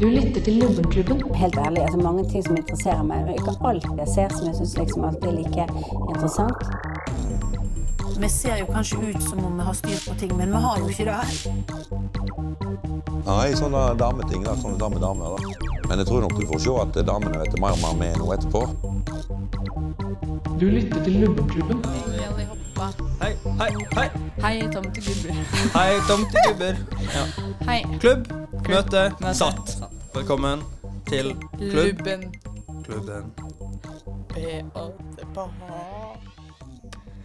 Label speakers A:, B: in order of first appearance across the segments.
A: Du lytter til Lubbenklubben.
B: Helt ærlig, altså mange ting som interesserer meg. men Ikke alt jeg ser som jeg syns liksom alltid er like interessant.
C: Vi ser jo kanskje ut som om vi har styr på ting, men vi har jo ikke det.
D: Nei, sånne sånn, eh, dameting. da, Sånne dame-damer. da. Men jeg tror nok du får se at damene vet mer om meg nå etterpå.
A: Du lytter til Lubbenklubben.
E: Hei, hei, hei.
F: Hei, Tomte Gubber.
E: Hei, tomt gubber. Ja.
F: Hei.
E: Klubb, møte,
F: Møte.
E: satt. Velkommen til klubb.
F: Lubben.
E: klubben.
F: Beate Baha.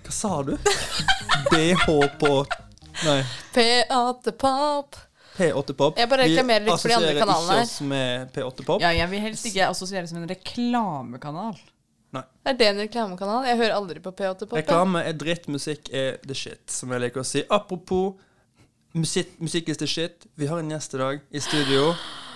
E: Hva sa du? BH på Nei,
F: Beate Pop.
E: P8 Pop.
F: Jeg bare reklamerer litt for de andre
E: Vi assosierer
F: kanalene her.
E: ikke oss med P8 Pop.
G: Ja, jeg vil helst ikke assosieres med en reklamekanal.
F: Er det en reklamekanal? Jeg hører aldri på Beate Pop. jeg.
E: Reklame er dritt, musikk er the shit, som jeg liker å si. Apropos musikk, musikk is the shit. Vi har en gjest i dag i studio.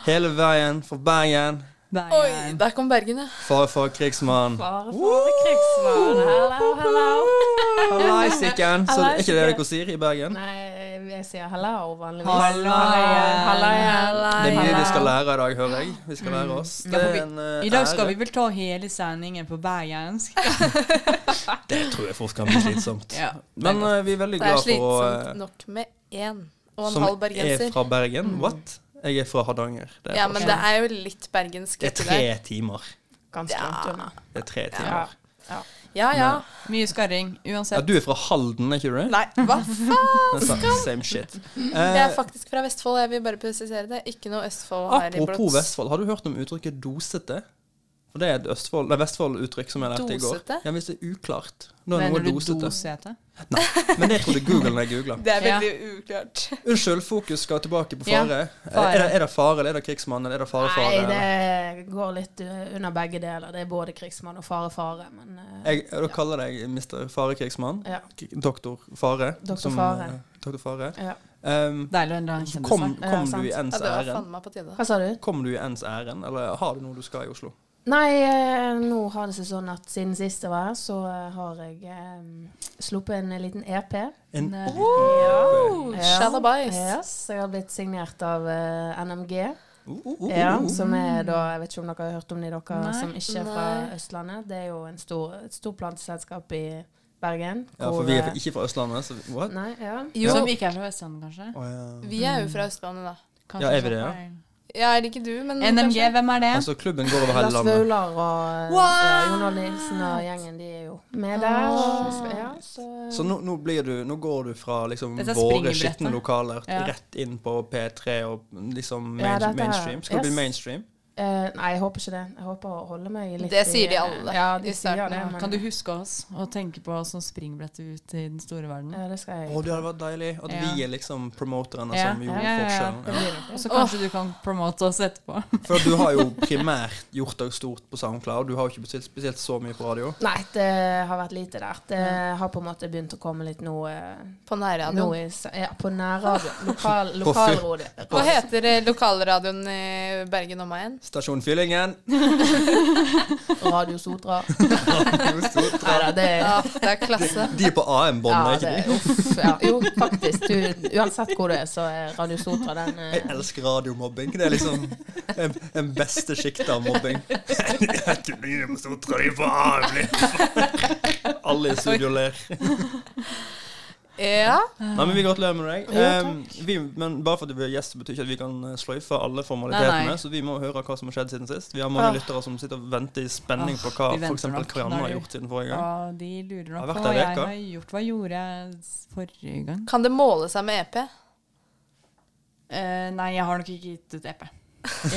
E: Hele veien fra Bergen.
F: Oi, der kom Bergen, ja.
E: Far for krigsmann.
G: Bare for krigsmann. Hello, hello.
E: Hallaisikken. Så er ikke det
H: Hallaisikken.
E: dere sier i Bergen?
H: Nei, jeg sier hallo vanligvis.
G: Halleien.
E: Det er mye vi
H: Hallo.
E: skal lære i dag, hører jeg. Vi skal lære oss.
F: Mm.
E: Det
G: for
E: er
G: vi-
E: en eh,
G: I dag skal vi
E: ære.
G: vel ta hele sendingen på bergensk.
E: Det tror jeg fort kan bli slitsomt.
G: Ja,
E: Men eh, vi er veldig
F: Det er
E: glad for
F: slitsomt
E: eh,
F: nok med én og en
E: Som
F: halv
E: er
F: bergenser. Mm.
E: fra Bergen. What? Jeg er fra Hardanger. Det er,
F: Ja,
E: forskjell.
F: men det er jo litt bergensk
E: det er
F: uti
E: tre
F: der.
E: timer.
H: Ganske
F: Ja.
H: langt unna.
E: Det er tre
H: Ja.
E: timer.
F: Ja ja.
G: Mye skarring,
E: Ja,
G: uansett.
E: du er fra Halden, er ikke du det?
F: Nei, hva faen?
E: Det er sant. Same shit.
F: Jeg er
E: Eh,
F: faktisk fra Vestfold, jeg vil bare presisere det. Ikke noe Østfold her i
E: apropos
F: blods.
E: Vestfold, har du hørt om uttrykket 'dosete'? For Det er et Østfold, nei, Vestfold-uttrykk som jeg lærte i går.
F: Dosete?
E: Ja, Hvis det er uklart, da er
G: Mener
E: noe
G: du
E: dosete.
G: dosete?
E: Men det trodde Google når jeg googla.
F: Det er
G: Ja.
F: veldig uklart.
E: Unnskyld, fokus skal tilbake på
G: Ja,
E: fare. Eh,
G: fare.
E: Er, det, er det fare, eller er det krigsmann, eller er det farefare?
H: Nei, det går litt uh, under begge deler. Det er både krigsmann og fare-fare, men uh,
E: Jeg, da kaller jeg Mr. Farekrigsmann.
H: ja.
E: k- Doktor Fare.
H: Doktor
E: som,
H: Fare.
E: eh, Doktor Fare.
H: ja.
E: Um,
G: Deilig å enda en kjendis.
E: kom
H: Ja,
E: kom
H: sant.
E: du i ens
F: Ja, det var
E: ærend?
F: faen meg på tide.
H: Hva sa du?
E: Kom du i ens ærend, eller har du noe du skal i Oslo?
H: Nei, eh, nå har det seg sånn at siden sist jeg var her, så eh, har jeg eh, sluppet en liten E EP.
E: En
G: Nei.
E: Oh,
F: Shadabais.
H: Yes, jeg har blitt signert av eh, NMG.
E: oh, oh.
H: Ja, som er da Jeg vet ikke om dere har hørt om de dere
G: Nei.
H: som ikke er fra
F: Nei.
H: Østlandet. Det er jo en stor, et stort planteselskap i Bergen.
E: Ja, for
H: hvor,
E: vi er
H: eh,
E: ikke fra Østlandet, så what?
H: Nei, ja.
F: Jo,
G: Som ikke er fra Vestlandet, kanskje?
E: Å, ja.
F: vi er jo fra Østlandet, da.
G: Kanskje
E: Ja, er vi det, ja?
G: sånn.
F: Ja, er det ikke du, men
G: NMG,
F: Mm, kanskje?
G: hvem er det?
E: Altså, klubben går over hele
H: Lars
E: landet.
H: Vaular og
G: What?
H: eh, Jon Arne Nilsen og gjengen, de er jo med der.
E: Ah.
H: Ja, så,
E: Så nå, nå, blir du, nå går du fra liksom,
G: Dette er
E: våre
G: springbrettet.
E: skitne lokaler
G: Ja.
E: rett inn på P3 og liksom
H: Ja,
E: main,
H: dette er-
E: mainstream. Skal du
H: yes.
E: bli mainstream?
H: eh, nei, jeg håper ikke det. Jeg håper å holde meg litt
F: Det sier
H: i-
F: de alle
H: Ja,
F: i
H: de
F: starten,
H: sier det.
F: ja.
H: Men,
G: Kan du huske oss og tenke på oss som springbrett ut i den store verden?
H: Ja, det skal
E: Å,
H: jeg.
E: det hadde vært deilig. At
G: Ja.
E: vi er liksom promoterne
G: Ja.
E: som gjorde
G: Ja, ja, ja.
H: Det
E: forskjellen.
H: blir nok det.
G: Og så kanskje du kan promote oss etterpå.
E: Ja. For du har jo primært gjort deg stort på SoundCloud. Du har jo ikke spesielt, spesielt så mye på radio.
H: Nei, det har vært lite der. Det har på en måte begynt å komme litt nå, eh,
F: På
H: nå
F: nærradioen.
H: i, s- ja, på nærradio. Lokal,
E: På fyr-
H: lokalrådet.
F: Hva heter eh, lokalradioen i Bergen om igjen?
E: Stasjon Fyllingen.
H: Radio Sotra.
E: De
H: Nei da, det
F: Ja, det er klasse.
E: er på
H: ja,
E: AM-båndet. ikke
H: det,
E: de?
H: uff, ja. Jo, faktisk. Du, uansett hvor du er, så er Radio Sotra den eh,
E: Jeg elsker radiomobbing. Det er liksom en, en beste sjikt av mobbing. Alle i studio ler.
F: Ja.
E: Nei, men Vi gratulerer med deg.
H: Ja,
E: Ehm, vi, men bare fordi vi er gjest, betyr ikke at vi kan eh, sløyfe alle
G: Nei,
E: formalitetene.
G: nei.
E: Så vi må høre hva som har skjedd siden sist. Vi har mange
H: Åh.
E: lyttere som sitter og venter i spenning
G: Åh,
E: på hva
G: Ah, vi venter
E: f.eks.
G: nok.
E: Karianne
G: Nei,
E: har
G: du-
E: gjort siden forrige gang.
G: Ja, de lurer
E: Har
G: nok
E: vært
G: på
E: der
G: hva
E: i
G: jeg
E: veka.
G: har gjort. Hva gjorde jeg s- forrige gang?
F: Kan det måle seg med E EP?
G: Eh, nei, jeg har nok ikke gitt ut EP.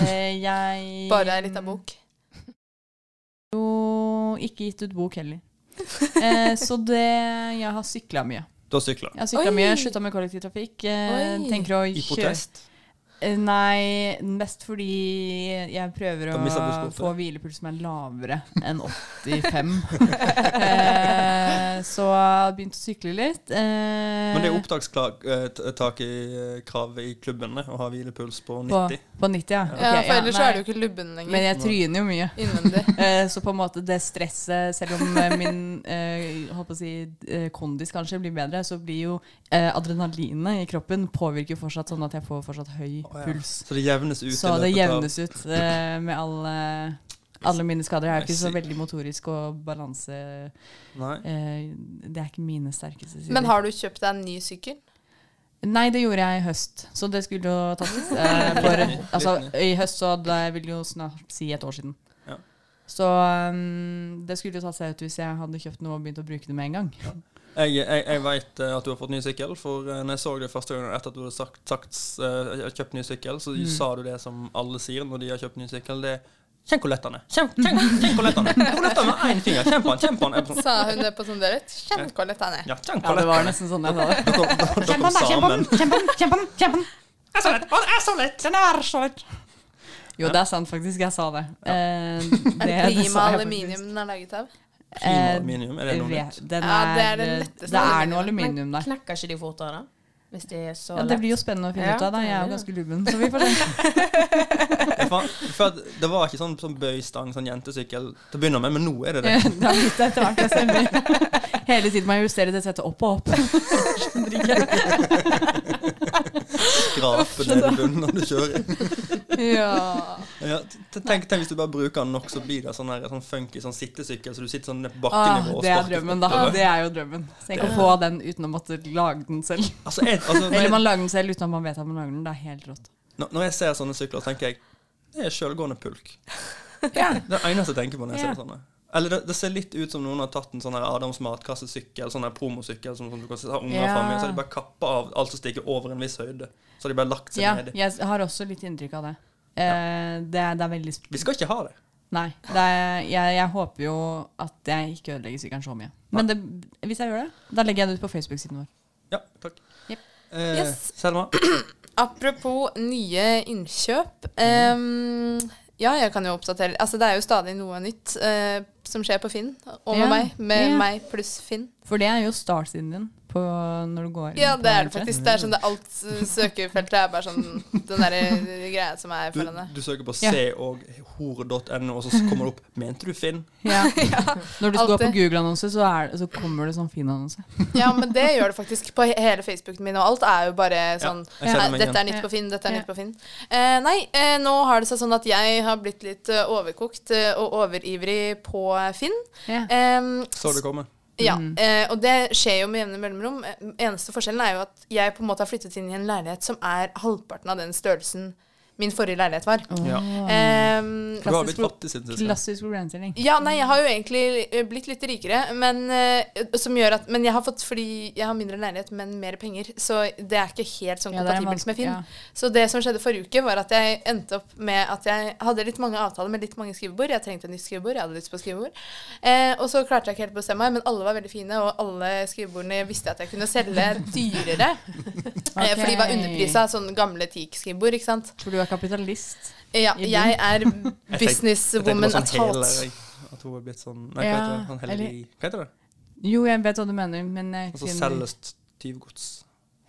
G: Eh, jeg
F: Bare ei lita bok?
G: Jo, ikke gitt ut bok heller. Eh, så det Jeg har sykla mye.
E: Du har sykla.
G: Jeg har sykla
F: Oi!
G: mye, slutta med kollektivtrafikk. Eh,
F: Oi!
G: tenker å
E: I
G: kjøre
E: protest.
G: Eh, Nei, mest fordi jeg prøver
E: Da
G: å
E: mistet du skoftet.
G: få hvilepuls som er lavere enn 85. eh, så jeg har begynt å sykle litt. Eh,
E: Men det er opptakstak i eh, kravet i klubben det, å ha hvilepuls på
G: på,
E: 90.
G: på 90, ja. Ok,
F: Ja, for ellers så
G: nei.
F: er det jo ikke lubben
G: Men
F: lenger.
G: jeg tryner jo mye.
F: Innvendig.
G: Eh, Så på en måte det stresset, selv om eh, min eh, holdt på å si, eh, kondis kanskje blir bedre, så blir jo eh, adrenalinet i kroppen påvirker fortsatt sånn at jeg får fortsatt høy
E: Å, ja.
G: puls.
E: Så det jevnes ut. i
G: Så det
E: løpet av-
G: jevnes ut eh, med alle, alle mine skader. Jeg er jo ikke så
E: Messi.
G: veldig motorisk og balanse eh,
E: Nei.
G: Det er ikke mine sterkeste sider.
F: Men har du kjøpt deg en ny sykkel?
G: Nei, det gjorde jeg i høst, så det skulle jo tatt eh, for, altså, I høst så hadde jeg vil jo snart si et år siden.
E: Ja.
G: Så um, det skulle jo tatt seg ut hvis jeg hadde kjøpt noe og begynt å bruke det med en gang.
E: Jeg, jeg, jeg veit at du har fått ny sykkel, for eh, når jeg så det første gang etter at du hadde sagt, sagt eh, jeg har kjøpt ny sykkel, så
G: Mm.
E: sa du det som alle sier når de har kjøpt ny sykkel. Det er Kjenn hvor lett den er! Kjenn, kjenn, kjenn hvor lett den er! Hvor lett den er med én finger! Kjenn på den! Kjenn på den! Jeg bare sånn,
F: Sa hun det på sånn dere? Kjenn hvor lett han er.
E: Ja, kjenn
G: Ja,
E: hvor
G: det
E: lett den
G: var
E: er!
G: nesten sånn jeg sa det.
E: Dere dere- dere kom sammen.
G: Den er så lett! Den er så lett! Den er så lett! Jo, det er sant, faktisk. Jeg sa det. Eh,
F: Er det
G: det
F: prima
G: sa jeg faktisk.
F: aluminium den er laget av?
E: Prima
G: Eh,
E: aluminium, er det noe
G: vet-
E: nytt?
G: Den
F: Ja,
G: er, eh,
F: det er det letteste
G: Det er noe
F: aluminium.
G: aluminium der.
H: Knekker ikke de fortere, da? Hvis de er så
G: Ja, det blir jo spennende å finne
H: Ja,
G: ut av. Da.
H: det
G: Jeg er jo
H: blir
G: ganske lubben, så vi får se.
E: Jeg fa- For at det var ikke sånn, sånn bøystang, sånn jentesykkel til å begynne med, men nå er det det.
G: Det har blitt det etter hvert, det stemmer. Hele tiden må jeg justere det settet opp og opp. Skjønner ikke.
E: Skrape ned i bunnen når du kjører.
G: Ja.
E: Ja, t- tenk, tenk hvis du bare bruker den nok, så blir det sånn, her, sånn funky sånn sittesykkel, så du sitter sånn ned på
G: Ah,
E: bakkenivå og
G: det er
E: sparker
G: drømmen, da.
E: fortere.
G: Det er jo drømmen. Så jeg kan få den uten å måtte lage den selv.
E: Altså, jeg, altså, når,
G: Eller
E: jeg,
G: man lager den selv uten at man vet at man lager den. Det er helt rått.
E: når- når jeg ser sånne sykler, tenker jeg det er sjølgående pulk.
G: Ja.
E: Det er det eneste jeg tenker på når jeg
G: Ja.
E: ser sånne. Eller det, det ser litt ut som noen har tatt en sånn her Adams matkassesykkel, sånn her promosykkel som, som du kan ha unger
G: Ja.
E: fram i, og så har de bare kappa av alt som stikker over en viss høyde. Så har de bare lagt seg
G: ja,
E: nedi.
G: jeg har også litt inntrykk av det. Eh, det, er, det er veldig sp
E: Vi skal ikke ha det.
G: Nei. Det er, jeg, jeg håper jo at jeg ikke ødelegger sykkelen så mye. Men det, hvis jeg gjør det, da legger jeg det ut på Facebook-siden vår.
E: Ja, takk.
G: Jep.
E: Eh,
F: Yes.
E: Selma,
F: Apropos nye innkjøp. ehm, ja, jeg kan jo oppdatere. Altså, det er jo stadig noe nytt eh, som skjer på Finn, og med
G: Ja.
F: meg. Med
G: Ja.
F: meg pluss Finn.
G: For det er jo startsiden din på når du går inn
F: Ja,
G: på
F: det er det
G: nettet.
F: faktisk. Det er sånn det alt eh, søkefeltet er bare sånn den derre greia som er
E: du,
F: for henne.
E: du søker på
G: Ja.
E: se og hore.no, og så kommer det opp Mente du Finn?
G: Ja. Når du går på
F: alltid.
G: Google-annonse, så, er det- så kommer det sånn fin annonse.
F: Ja, men det gjør det faktisk på he- hele Facebooken min, og alt er jo bare sånn
E: jeg kjenner meg
F: «Nei, Dette er
E: igjen».
F: nytt på Finn, dette er
G: Ja.
F: nytt på Finn. Eh, nei, eh, nå har det seg sånn at jeg har blitt litt eh, overkokt eh, og overivrig på Finn. Em,
E: Så det komme.
F: Ja, eh, og det skjer jo med jevne mellomrom. Eh, Eneste forskjellen er jo at jeg på en måte har flyttet inn i en leilighet som er halvparten av den størrelsen min forrige leilighet var.
E: Ja.
F: Em,
E: Du har blitt
G: Klassisk-
E: fattig siden sist.
G: Klassisk problemstilling.
F: ja, nei, jeg har jo egentlig eh, blitt litt rikere, men, eh, som gjør at, men jeg har fått fordi jeg har mindre leilighet, men mer penger. Så det er ikke helt sånn
G: Ja, det er en
F: kompatibelt
G: vanskelig-
F: med Finn.
G: ja.
F: Så det som skjedde forrige uke, var at jeg endte opp med at jeg hadde litt mange avtaler med litt mange skrivebord. Jeg trengte et nytt skrivebord, jeg hadde lyst på skrivebord. Eh, og så klarte jeg ikke helt å bestemme meg, men alle var veldig fine, og alle skrivebordene visste at jeg kunne selge dyrere. eh, for de var
G: Ok.
F: underprisa, sånn gamle teak-skrivebord, ikke sant.
G: For du er kapitalist.
F: Ja,
G: I bunn.
F: jeg er
E: Jeg tenkte-
F: businesswoman
E: Jeg tenkte på sånn
F: at
E: heler,
F: heart.
E: jeg. At hun har blitt sånn Nei, hva
G: Ja,
E: heter det? Sånn heller,
G: eller-
E: Hva heter det?
G: Jo, jeg vet hva du mener, men jeg
E: Altså
G: finner-
E: selges tyvgods.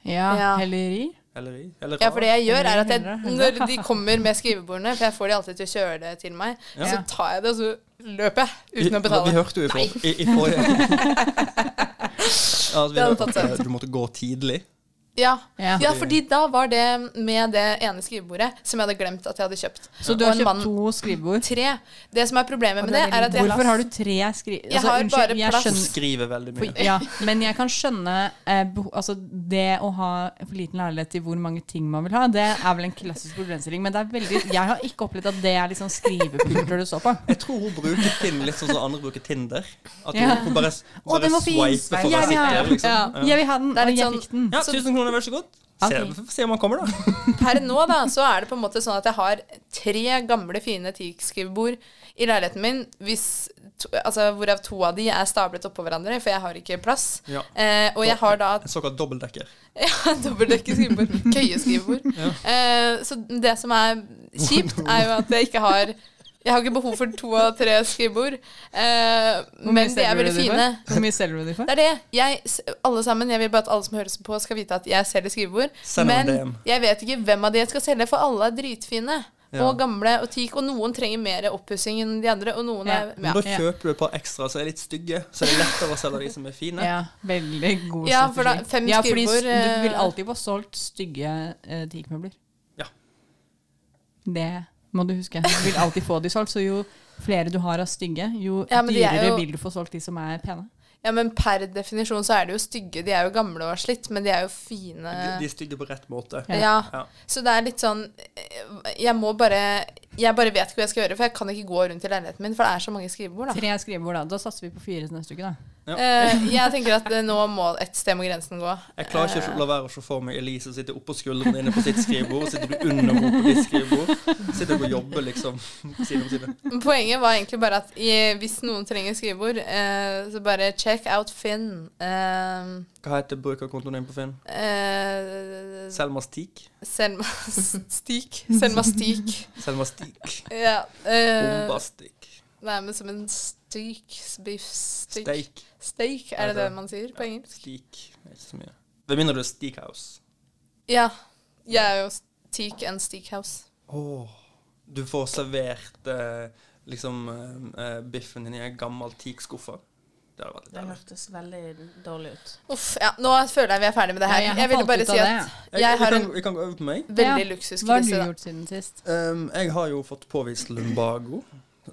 G: Ja,
F: Ja.
G: Helleri.
E: Helleri? Eller
F: Ja, for det jeg gjør, er at jeg,
G: Hundre, hundre.
F: når de kommer med skrivebordene, for jeg får de alltid til å kjøre det til meg,
E: Ja.
F: så tar jeg det, og så løper jeg uten å
E: Vi, vi
F: betale.
E: hørte jo i, for, i, i forrige Ja, altså, vi
F: Det hadde
E: hørte
F: tatt seg
E: at du måtte gå tidlig.
F: Ja.
G: Ja.
F: ja, fordi da var det med det ene skrivebordet som jeg hadde glemt at jeg hadde kjøpt.
G: Så du har
F: Og en mann-
G: kjøpt to skrivebord.
F: Tre. Det som er problemet
H: Og
F: med
H: du
F: det,
H: har
F: er at jeg
G: Hvorfor har du tre skriv...
F: Jeg har bare
G: jeg
F: plass.
E: Hun
G: skjønner,
E: skriver veldig mye.
G: ja, men jeg kan skjønne eh, beho altså, det å ha for liten leilighet til hvor mange ting man vil ha, det er vel en klassisk problemstilling, men det er veldig, jeg har ikke opplevd at det er liksom skrivepulter du står på.
E: Jeg tror hun bruker Finn litt sånn som andre bruker Tinder. At
G: Ja.
E: hun, hun bare,
G: Å,
E: bare
G: den var fin!
E: swiper for å
G: Jeg
E: være
G: vil ha
E: sikker.
G: den.
E: Liksom.
G: Ja. Jeg vil ha den,
F: Det
G: og
F: er litt
G: jeg
F: sånn-
G: fikk den.
E: Ja, 1000 kroner, vær så god. Se, se om han kommer, da.
F: per nå, da, så er det på en måte sånn at jeg har tre gamle, fine teakskrivebord i leiligheten min, hvis to, altså, hvorav to av de er stablet oppå hverandre, for jeg har ikke plass.
E: Ja.
F: Eh, og jeg har da
E: En såkalt dobbeltdekker.
F: Ja, dobbeltdekket skrivebord. Køyeskrivebord. Eh, så det som er kjipt, er jo at jeg ikke har Jeg har ikke behov for to av tre skrivebord, eh,
G: Hvor mye
F: men de
G: selger
F: er
G: du
F: veldig
G: de for?
F: fine.
G: Hvor mye selger du de for?
F: Det er det. Jeg, s- alle sammen, jeg vil bare at alle som høres på, skal vite at jeg selger skrivebord.
E: Send meg en DM.
F: Men jeg vet ikke hvem av de jeg skal selge, for alle er dritfine.
E: Ja.
F: Og gamle og teak. Og noen trenger mer oppussing enn de andre. Og noen
G: Ja.
F: er
E: Men
F: ja.
E: da kjøper du et par ekstra som er litt stygge, så det er lettere å selge de som er fine.
G: Ja, veldig god
F: Ja, for da-
G: strategi.
F: fem
G: ja, fordi
F: skrivebord,
G: s- Du vil
F: eh,
G: alltid få solgt stygge uh, teakmøbler.
E: Ja.
G: Det må du huske. Du vil alltid få de solgt, så jo flere du har av stygge, jo
F: Ja, men de er
G: dyrere
F: jo-
G: vil du få solgt de som er pene.
F: Ja, men per definisjon så er de jo stygge. De er jo gamle og har slitt, men de er jo fine.
E: De, de er stygge på rett måte.
G: Ja.
F: ja.
E: Ja.
F: Så det er litt sånn eh, Jeg må bare Jeg bare vet ikke hva jeg skal gjøre, for jeg kan ikke gå rundt i leiligheten min, for det er så mange skrivebord, da.
G: Tre skrivebord, da. Da satser vi på fire til neste uke, da.
E: Ja.
F: Eh, jeg tenker at eh, nå må et sted må grensen gå.
E: Jeg klarer ikke å la være å se for meg Elise sitte oppå skuldrene dine på sitt skrivebord, og sitter du under henne på ditt skrivebord. Sitter og jobber liksom side om side.
F: Men Poenget var egentlig bare at i, hvis noen trenger skrivebord, eh, så bare check out Finn. Eh,
E: Hva heter brukerkontoen din på Finn?
F: eh,
E: Selma Stik?
F: Selma Stik. Selma Stik.
E: Selma Stik.
F: Ja. Eh,
E: Bombastik.
F: nei, men som en stik. Beef stik.
E: Steik.
F: Steak, er det det man sier på engelsk?
E: Stik. Det er Ikke så mye. Med mindre du er Steakhouse.
F: Ja. Jeg er jo teak and steakhouse.
E: Åh, Du får servert eh, liksom eh, eh, biffen din i en gammel teakskuffe. Det hadde vært litt
H: Det
E: deilig.
H: hørtes veldig dårlig ut.
F: Uff, ja, nå føler jeg vi er ferdig med det her.
G: Ja, jeg har
F: jeg, ville
G: falt
F: bare
G: ut av
F: si
G: det,
F: at
E: Jeg,
F: jeg
E: vi
F: har
E: kan,
F: en
E: vi kan gå over til meg.
F: veldig
G: Ja, Hva har du
F: luksuskrise. da.
G: gjort siden sist?
E: Um, jeg har jo fått påvist lumbago.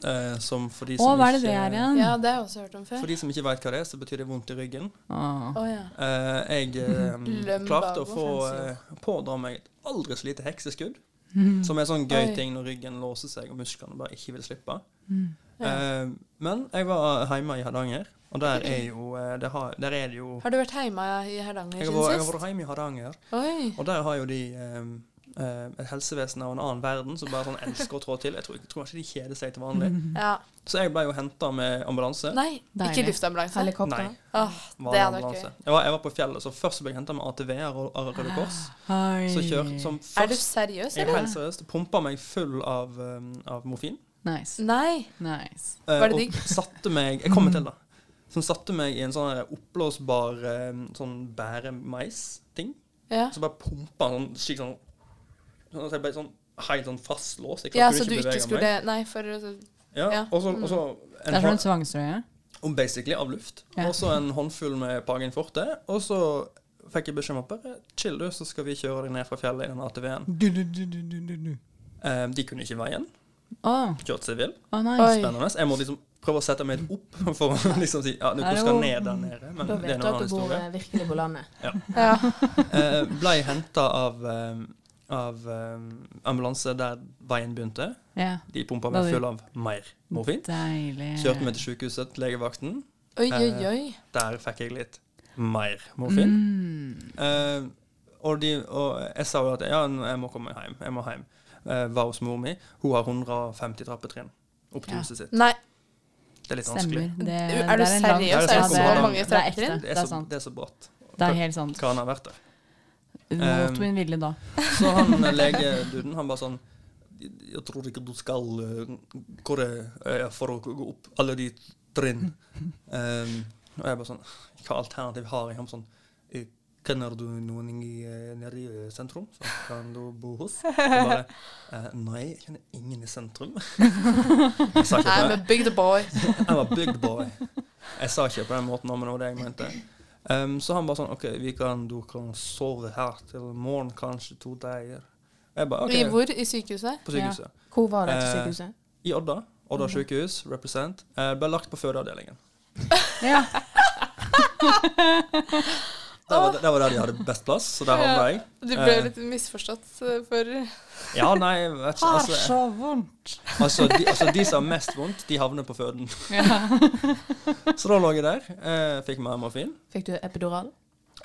E: eh, som for de
G: Å,
E: som
G: hva er det
E: ikke,
G: det er igjen?
F: Ja, det har jeg også hørt om før.
E: For de som ikke veit hva det er, så betyr det vondt i ryggen.
G: Åh.
F: Å, ja.
E: Eh, jeg eh,
F: Lumbago,
E: klarte å få
F: fancy
E: eh, pådra meg et aldri så lite hekseskudd. Som er sånn
F: Oi.
E: gøy ting når ryggen låser seg og musklene bare ikke vil slippe.
F: Mm.
E: Eh, men jeg var hjemme i Hardanger, og der er jo eh, det har, Der er det jo
F: Har du vært hjemme i Hardanger
E: Jeg har vært- jeg
F: siden
E: har
F: sist?
E: vært hjemme i Hardanger,
F: Oi.
E: og der har jo de eh, eh, et helsevesen av en annen verden som bare sånn elsker å trå til. Jeg tror, jeg tror ikke de kjeder seg til vanlig.
F: Ja.
E: Så jeg ble jo henta med ambulanse.
F: Nei, ikke
G: Deilig.
F: luftambulanse.
H: Helikopter.
E: Nei,
F: Åh,
E: var
F: det
E: det
F: hadde vært
E: ambulanse.
F: gøy.
E: Jeg var, jeg var på fjellet, så først ble jeg henta med ATV-er og og Røde Kors.
G: Oi.
E: Så kjør, som
F: Er du
E: først
F: seriøs,
E: Jeg er
F: eller?
E: helt seriøst. Pumpa meg full av, um, av morfin.
G: Nice.
F: Nei.
G: nice.
E: eh,
F: Var det
E: og
F: digg?
E: satte meg Jeg kommer til, da. Som satte meg i en sånn her oppblåsbar um, sånn bæremais-ting.
F: Ja.
E: Så bare pumpa han sånn skikkelig sånn sånn at jeg ble sånn helt sånn fastlåst. Jeg
F: ja,
E: klarte
F: så du ikke
E: bevege
F: skulle Nei, for
E: meg. Ja,
F: ja.
E: Og så, og så en,
G: Det er som en
E: hånd-
G: svangstrøye.
E: og basically av luft.
G: Ja.
E: Og så en håndfull med Pagen Forte. Og så fikk jeg beskjed om at bare chill, du, så skal vi kjøre deg ned fra fjellet i den ATV-en. Eh, de kunne ikke veien.
G: Å,
E: Kjørte seg vill.
G: å,
F: Oi.
G: nice.
E: Spennende. Jeg må liksom prøve å sette meg litt opp for å liksom si ja, du
G: Nei, det
E: skal
G: var-
E: ned der nede. Men det
H: Da
E: er
H: vet
E: en
H: du at
E: annen
H: du bor
E: historie.
H: eh, virkelig på landet.
F: Ja.
E: Eh, Blei henta av, eh, av eh, ambulanse der veien begynte.
G: Ja,
E: De pumpa
G: Da
E: meg
G: vi-
E: full av mer morfin.
G: deilig.
E: Kjørte meg til sykehuset, til legevakten.
F: Oi, oi,
E: Eh,
F: oi.
E: Der fikk jeg litt mer morfin.
G: Mm.
E: Eh, og, de, og jeg sa jo at ja, nå- jeg må komme hjem. Jeg må hjem. Eh, var hos mor mi. Hun har 150 trappetrinn opp til
G: Ja.
E: huset sitt.
F: Nei.
E: Det er litt vanskelig.
G: Stemmer. Det,
F: Er du
G: det en
F: seriøs?
G: lang-
F: Er
E: det
G: Ja,
E: så mange
G: det er
F: trappetrinn?
G: ekte.
E: Det
G: Det
E: er
G: er
E: så,
G: sant.
E: det er så bratt.
G: Det er helt sant.
E: Hva han har vært der.
G: Mot
E: ehm,
G: min vilje da.
E: Så han eh, legeduden, han bare sånn Jeg tror ikke du skal eh, Hvor er jeg for å gå opp alle de trinn? Um, og jeg bare sånn Hva alternativ har jeg? Han sånn «Eh, Kjenner du noen i, eh, nede i eh, sentrum som kan du bo hos? Jeg bare eh, Nei, jeg kjenner ingen i sentrum. Jeg sa ikke
F: I'm
E: det.
F: a big the boy.
E: I'm a big boy. Jeg sa ikke på den måten, men det var det jeg mente. Ehm, så han bare sånn OK, vi kan, du kan sove her til i morgen, kanskje to dager. Jeg bare
F: I
E: OK,
F: hvor? I sykehuset?
E: på sykehuset.
H: Hvor var dette
E: Eh,
H: sykehuset?
E: I Odda. Odda sykehus, represent. Eh, ble lagt på fødeavdelingen.
G: Ja.
E: Der var, der var der de hadde best plass, så der havna jeg.
F: Du ble
E: Eh,
F: litt misforstått eh, for
E: Ja, nei, jeg vet ikke.
F: Ah,
E: Altså,
G: vondt.
E: altså, de, altså, de som har mest vondt, de havner på føden. Så da lå jeg der. Eh, fikk meg morfin.
H: Fikk du epidural?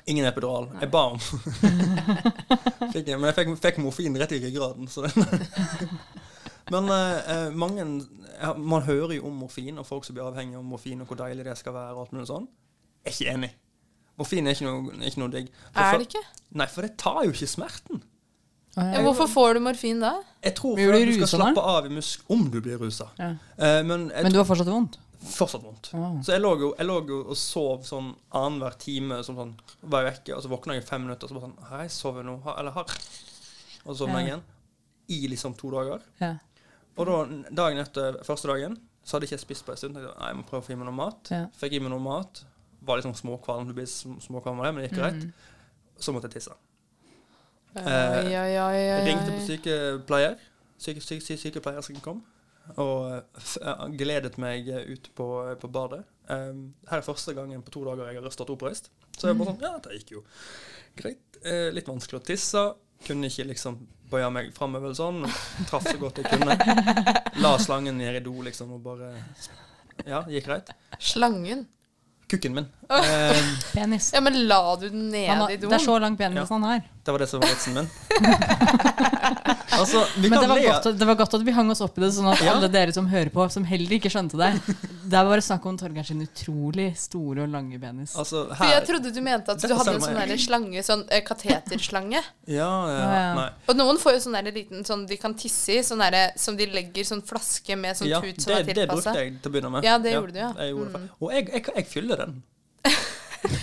E: Ingen epidural. Jeg ba om. fikk, jeg- men jeg fikk, fikk morfin rett i ryggraden. Så det. men eh, eh, mange ja, Man hører jo om morfin og folk som blir avhengige av morfin, og hvor deilig det skal være. og alt mulig sånn. Jeg er ikke enig. Morfin er ikke noe, ikke noe digg. For-
F: Er det ikke?
E: Nei, for det tar jo ikke smerten.
F: Ja, hvorfor får du morfin da?
E: Jeg tror
G: Blir
E: for at
G: du
E: du skal
G: rusa da?
E: slappe av i musk om du blir rusa.
G: Ja.
E: Eh, men jeg
G: Men du har fortsatt vondt?
E: Fortsatt vondt.
G: Wow.
E: Så jeg lå, jo, jeg lå jo og sov sånn annenhver time, som sånn, var jeg vekke, og så våkna jeg i fem minutter, og så bare sånn Har jeg sovet nå? Har, eller har Og så sovna jeg
G: Ja.
E: igjen. I liksom to dager.
G: Ja.
E: Og da, dagen etter første dagen, så hadde jeg ikke spist på en stund. tenkte Jeg nei, jeg må prøve å få i meg noe mat.
G: Ja.
E: Fikk i meg noe mat. Var liksom småkvalm, du blir sm- småkvalm av det, men
G: Mhm.
E: det gikk greit. Så måtte jeg tisse.
F: Oi, oi, oi, oi, oi.
G: Eh,
E: eh, Jeg ringte på sykepleier. syke, syke, syke, sykepleier som kom, og eh, gledet meg ut på, eh, på badet. Em, her er første gangen på to dager jeg har stått oppreist. Så jeg bare sånn, ja, det gikk jo greit. Eh, litt vanskelig å tisse. Kunne ikke liksom bøye meg framover sånn. Traff så godt jeg kunne. La slangen ned i do, liksom, og bare Ja, det gikk greit.
F: Slangen.
E: Kukken min. Ehm, Em,
G: Penis.
F: Ja, men la du
G: Han
F: den ned
G: har,
F: i
G: det
F: doen?
G: er så lang penis
E: Ja.
G: han har.
E: det var det som var vitsen min. altså, vi
G: Men
E: kan
G: det var,
E: le
G: godt, at- det var godt at vi hang oss opp i det, sånn at
E: Ja.
G: alle dere som hører på, som heller ikke skjønte det Det er bare snakk om Torgeir sin utrolig store og lange penis.
E: altså,
F: For jeg
E: her.
F: trodde du mente at du
E: Dette
F: hadde en
E: ser
F: sånn
E: meg.
F: der slange, sånn eh, kateterslange.
E: Ja, ja,
G: Ja, ja.
E: nei.
F: Og noen får jo sånn der liten sånn de kan tisse i, sånn der, som de legger sånn flaske med sånn
E: Ja,
F: tut som
E: det,
F: er
E: det brukte
F: tilpassa.
E: jeg til å begynne med.
F: Ja, det gjorde du, ja.
E: Jeg gjorde det.
F: Mm.
E: Og jeg, jeg, jeg fyller den.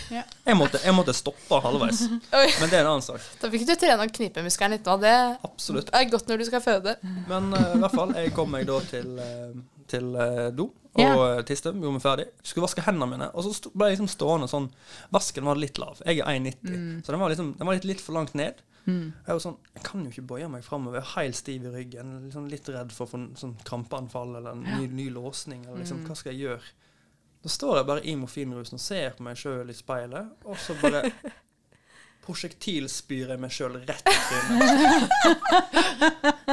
G: Ja.
E: jeg, måtte, jeg måtte stoppe halvveis.
F: Oi.
E: Men det er en annen sak.
F: Da fikk du trene knipemuskelen litt nå. Det
E: Absolutt.
F: er godt når du skal føde.
E: Men eh, i hvert fall, jeg kom meg da til, eh, til eh, do og
G: Ja.
E: eh, tiste. Gjorde meg ferdig. Skulle vaske hendene mine, og så sto- ble jeg liksom stående sånn. Vasken var litt lav. Jeg er 1,90, så den var, liksom, den var litt, litt for langt ned. Jeg var sånn, jeg kan jo ikke bøye meg framover. Helt stiv i ryggen. Liksom litt redd for å få en sånn krampeanfall eller en ny, ny låsning. Eller liksom, hva skal jeg gjøre? Da står jeg bare i morfinrusen og ser på meg sjøl i speilet, og så bare prosjektilspyr jeg meg sjøl rett i trynet.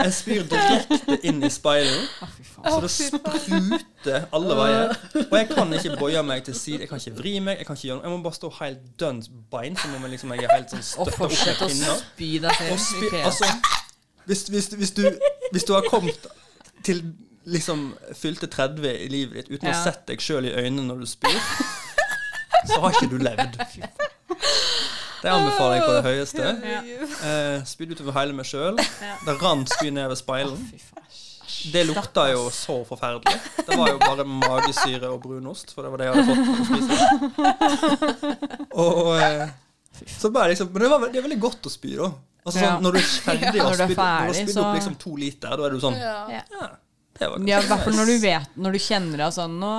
E: Jeg spyr direkte inn i speilet, så det spruter alle veier. Og jeg kan ikke bøye meg til side, jeg kan ikke vri meg, jeg kan ikke gjøre noe. Jeg må bare stå helt dønns bein, som om jeg, liksom, jeg er helt sånn
G: Og
E: støtta opp
G: fortsett
E: med
G: å
E: pinner.
G: spy deg
E: Og
G: selv i
E: spyr
G: fjeset.
E: Altså, hvis, hvis, hvis, du, hvis du har kommet til liksom fylte 30 i livet ditt uten å
G: Ja.
E: ha sett deg sjøl i øynene når du spyr, så har ikke du levd. Det anbefaler jeg på det høyeste. Eh, spydde utover hele meg sjøl. Det rant spy ned ved speilen. Det lukta jo så forferdelig. Det var jo bare magesyre og brunost, for det var det jeg hadde fått for å spise. Og eh, så bare liksom Men det, var, ve- det er veldig godt å spy, da. Altså sånn,
G: Ja.
E: Når du er ferdig og
G: Når du er
E: spydd når du har
G: ferdig,
E: spydd opp
G: så-
E: liksom to liter, da er du sånn Ja,
F: Ja.
E: det var
G: Ja, I hvert fall når du vet Når du kjenner deg sånn Nå,